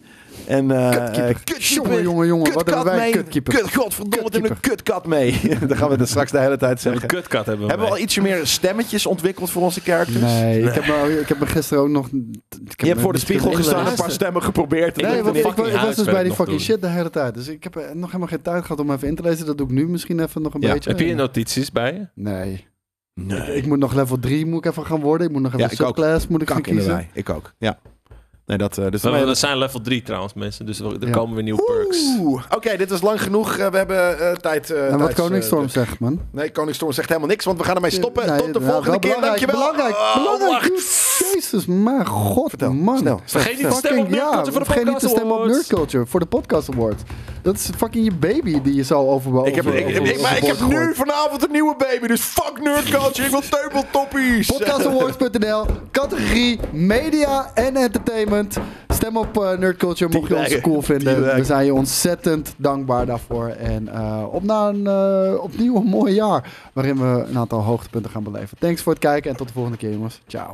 S1: En eh
S3: Kutkeeper.
S1: eh, kutkeeper.
S3: Jongen, jongen, jongen. Wat
S1: Kutkat
S3: hebben wij?
S1: mee.
S3: Kutkeeper.
S1: Kut, godverdomme, wat hebben we een kutkat mee. Daar gaan we het straks de hele tijd
S2: Een
S1: zeggen.
S2: kutkat hebben we.
S1: Hebben we al
S2: mee.
S1: ietsje meer stemmetjes ontwikkeld voor onze characters?
S3: Nee, Ik, heb me, ik heb me gisteren ook nog... Ik heb
S1: Je hebt
S3: me
S1: voor de
S3: niet
S1: spiegel
S3: kunnen
S1: gestaan, een
S3: inlezen.
S1: paar stemmen geprobeerd.
S2: Ik
S3: Nee,
S2: heb
S3: want
S2: een
S3: ik,
S1: ik,
S3: wa- ik
S2: fucking
S3: was dus
S2: huiswerk
S3: bij die
S2: nog
S3: fucking
S2: doen.
S3: shit de hele tijd. Dus ik heb eh, nog helemaal geen tijd gehad om even in te lezen. Dat doe ik nu misschien even nog een
S1: Ja.
S3: beetje.
S2: Heb je notities bij je?
S3: Nee.
S1: nee.
S3: Ik moet nog level 3 moet ik even gaan worden. Ik moet nog even
S1: Ja, ik ook.
S3: subclass moet ik gaan
S1: Kak in de
S3: kiezen.
S1: wei. Ik ook, ja. Nee, dat, eh, dus
S2: We
S1: dan-
S2: we zijn level 3 trouwens, mensen. Dus er
S3: Ja.
S2: komen weer nieuwe perks.
S1: Oeh, oké, dit was lang genoeg. Eh, we hebben eh, tijd. eh,
S3: En Nou, wat
S1: tijds, eh,
S3: Koningsstorm
S1: de-
S3: zegt, man.
S1: nee, Koningsstorm zegt helemaal niks, want we gaan ermee stoppen.
S3: Nee,
S1: Tot de
S3: nou,
S1: volgende
S3: wel
S1: keer.
S3: belangrijk,
S1: Dankjewel.
S3: Belangrijk,
S1: Oh,
S3: belangrijk.
S2: wacht.
S3: dude. Jezus, maar god,
S1: Vertel,
S3: man.
S1: snel.
S2: Vergeet niet te
S1: Fucking
S2: stemmen op
S3: Fucking ja,
S2: Nerdculture voor de
S3: vergeet niet te
S2: Podcast
S3: stemmen op
S2: Awards.
S3: Nerd Culture voor de Podcast Awards. Dat is fucking je baby die je zo over...
S1: Ik heb,
S3: over-
S1: ik, ik-
S3: over-
S1: ik- maar ik
S3: overboord
S1: heb nu
S3: gooit.
S1: vanavond een nieuwe baby, dus fuck nerd culture. Ik wil teubeltoppies.
S3: Podcastawards.nl, categorie media en entertainment. Stem op eh, Nerd Culture, mocht je
S1: Die
S3: ons
S1: lijken,
S3: cool
S1: die
S3: vinden.
S1: lijken.
S3: We zijn je ontzettend dankbaar daarvoor. En eh, op naar een eh, opnieuw een mooi jaar, waarin we een aantal hoogtepunten gaan beleven. Thanks voor het kijken en tot de volgende keer jongens. Ciao.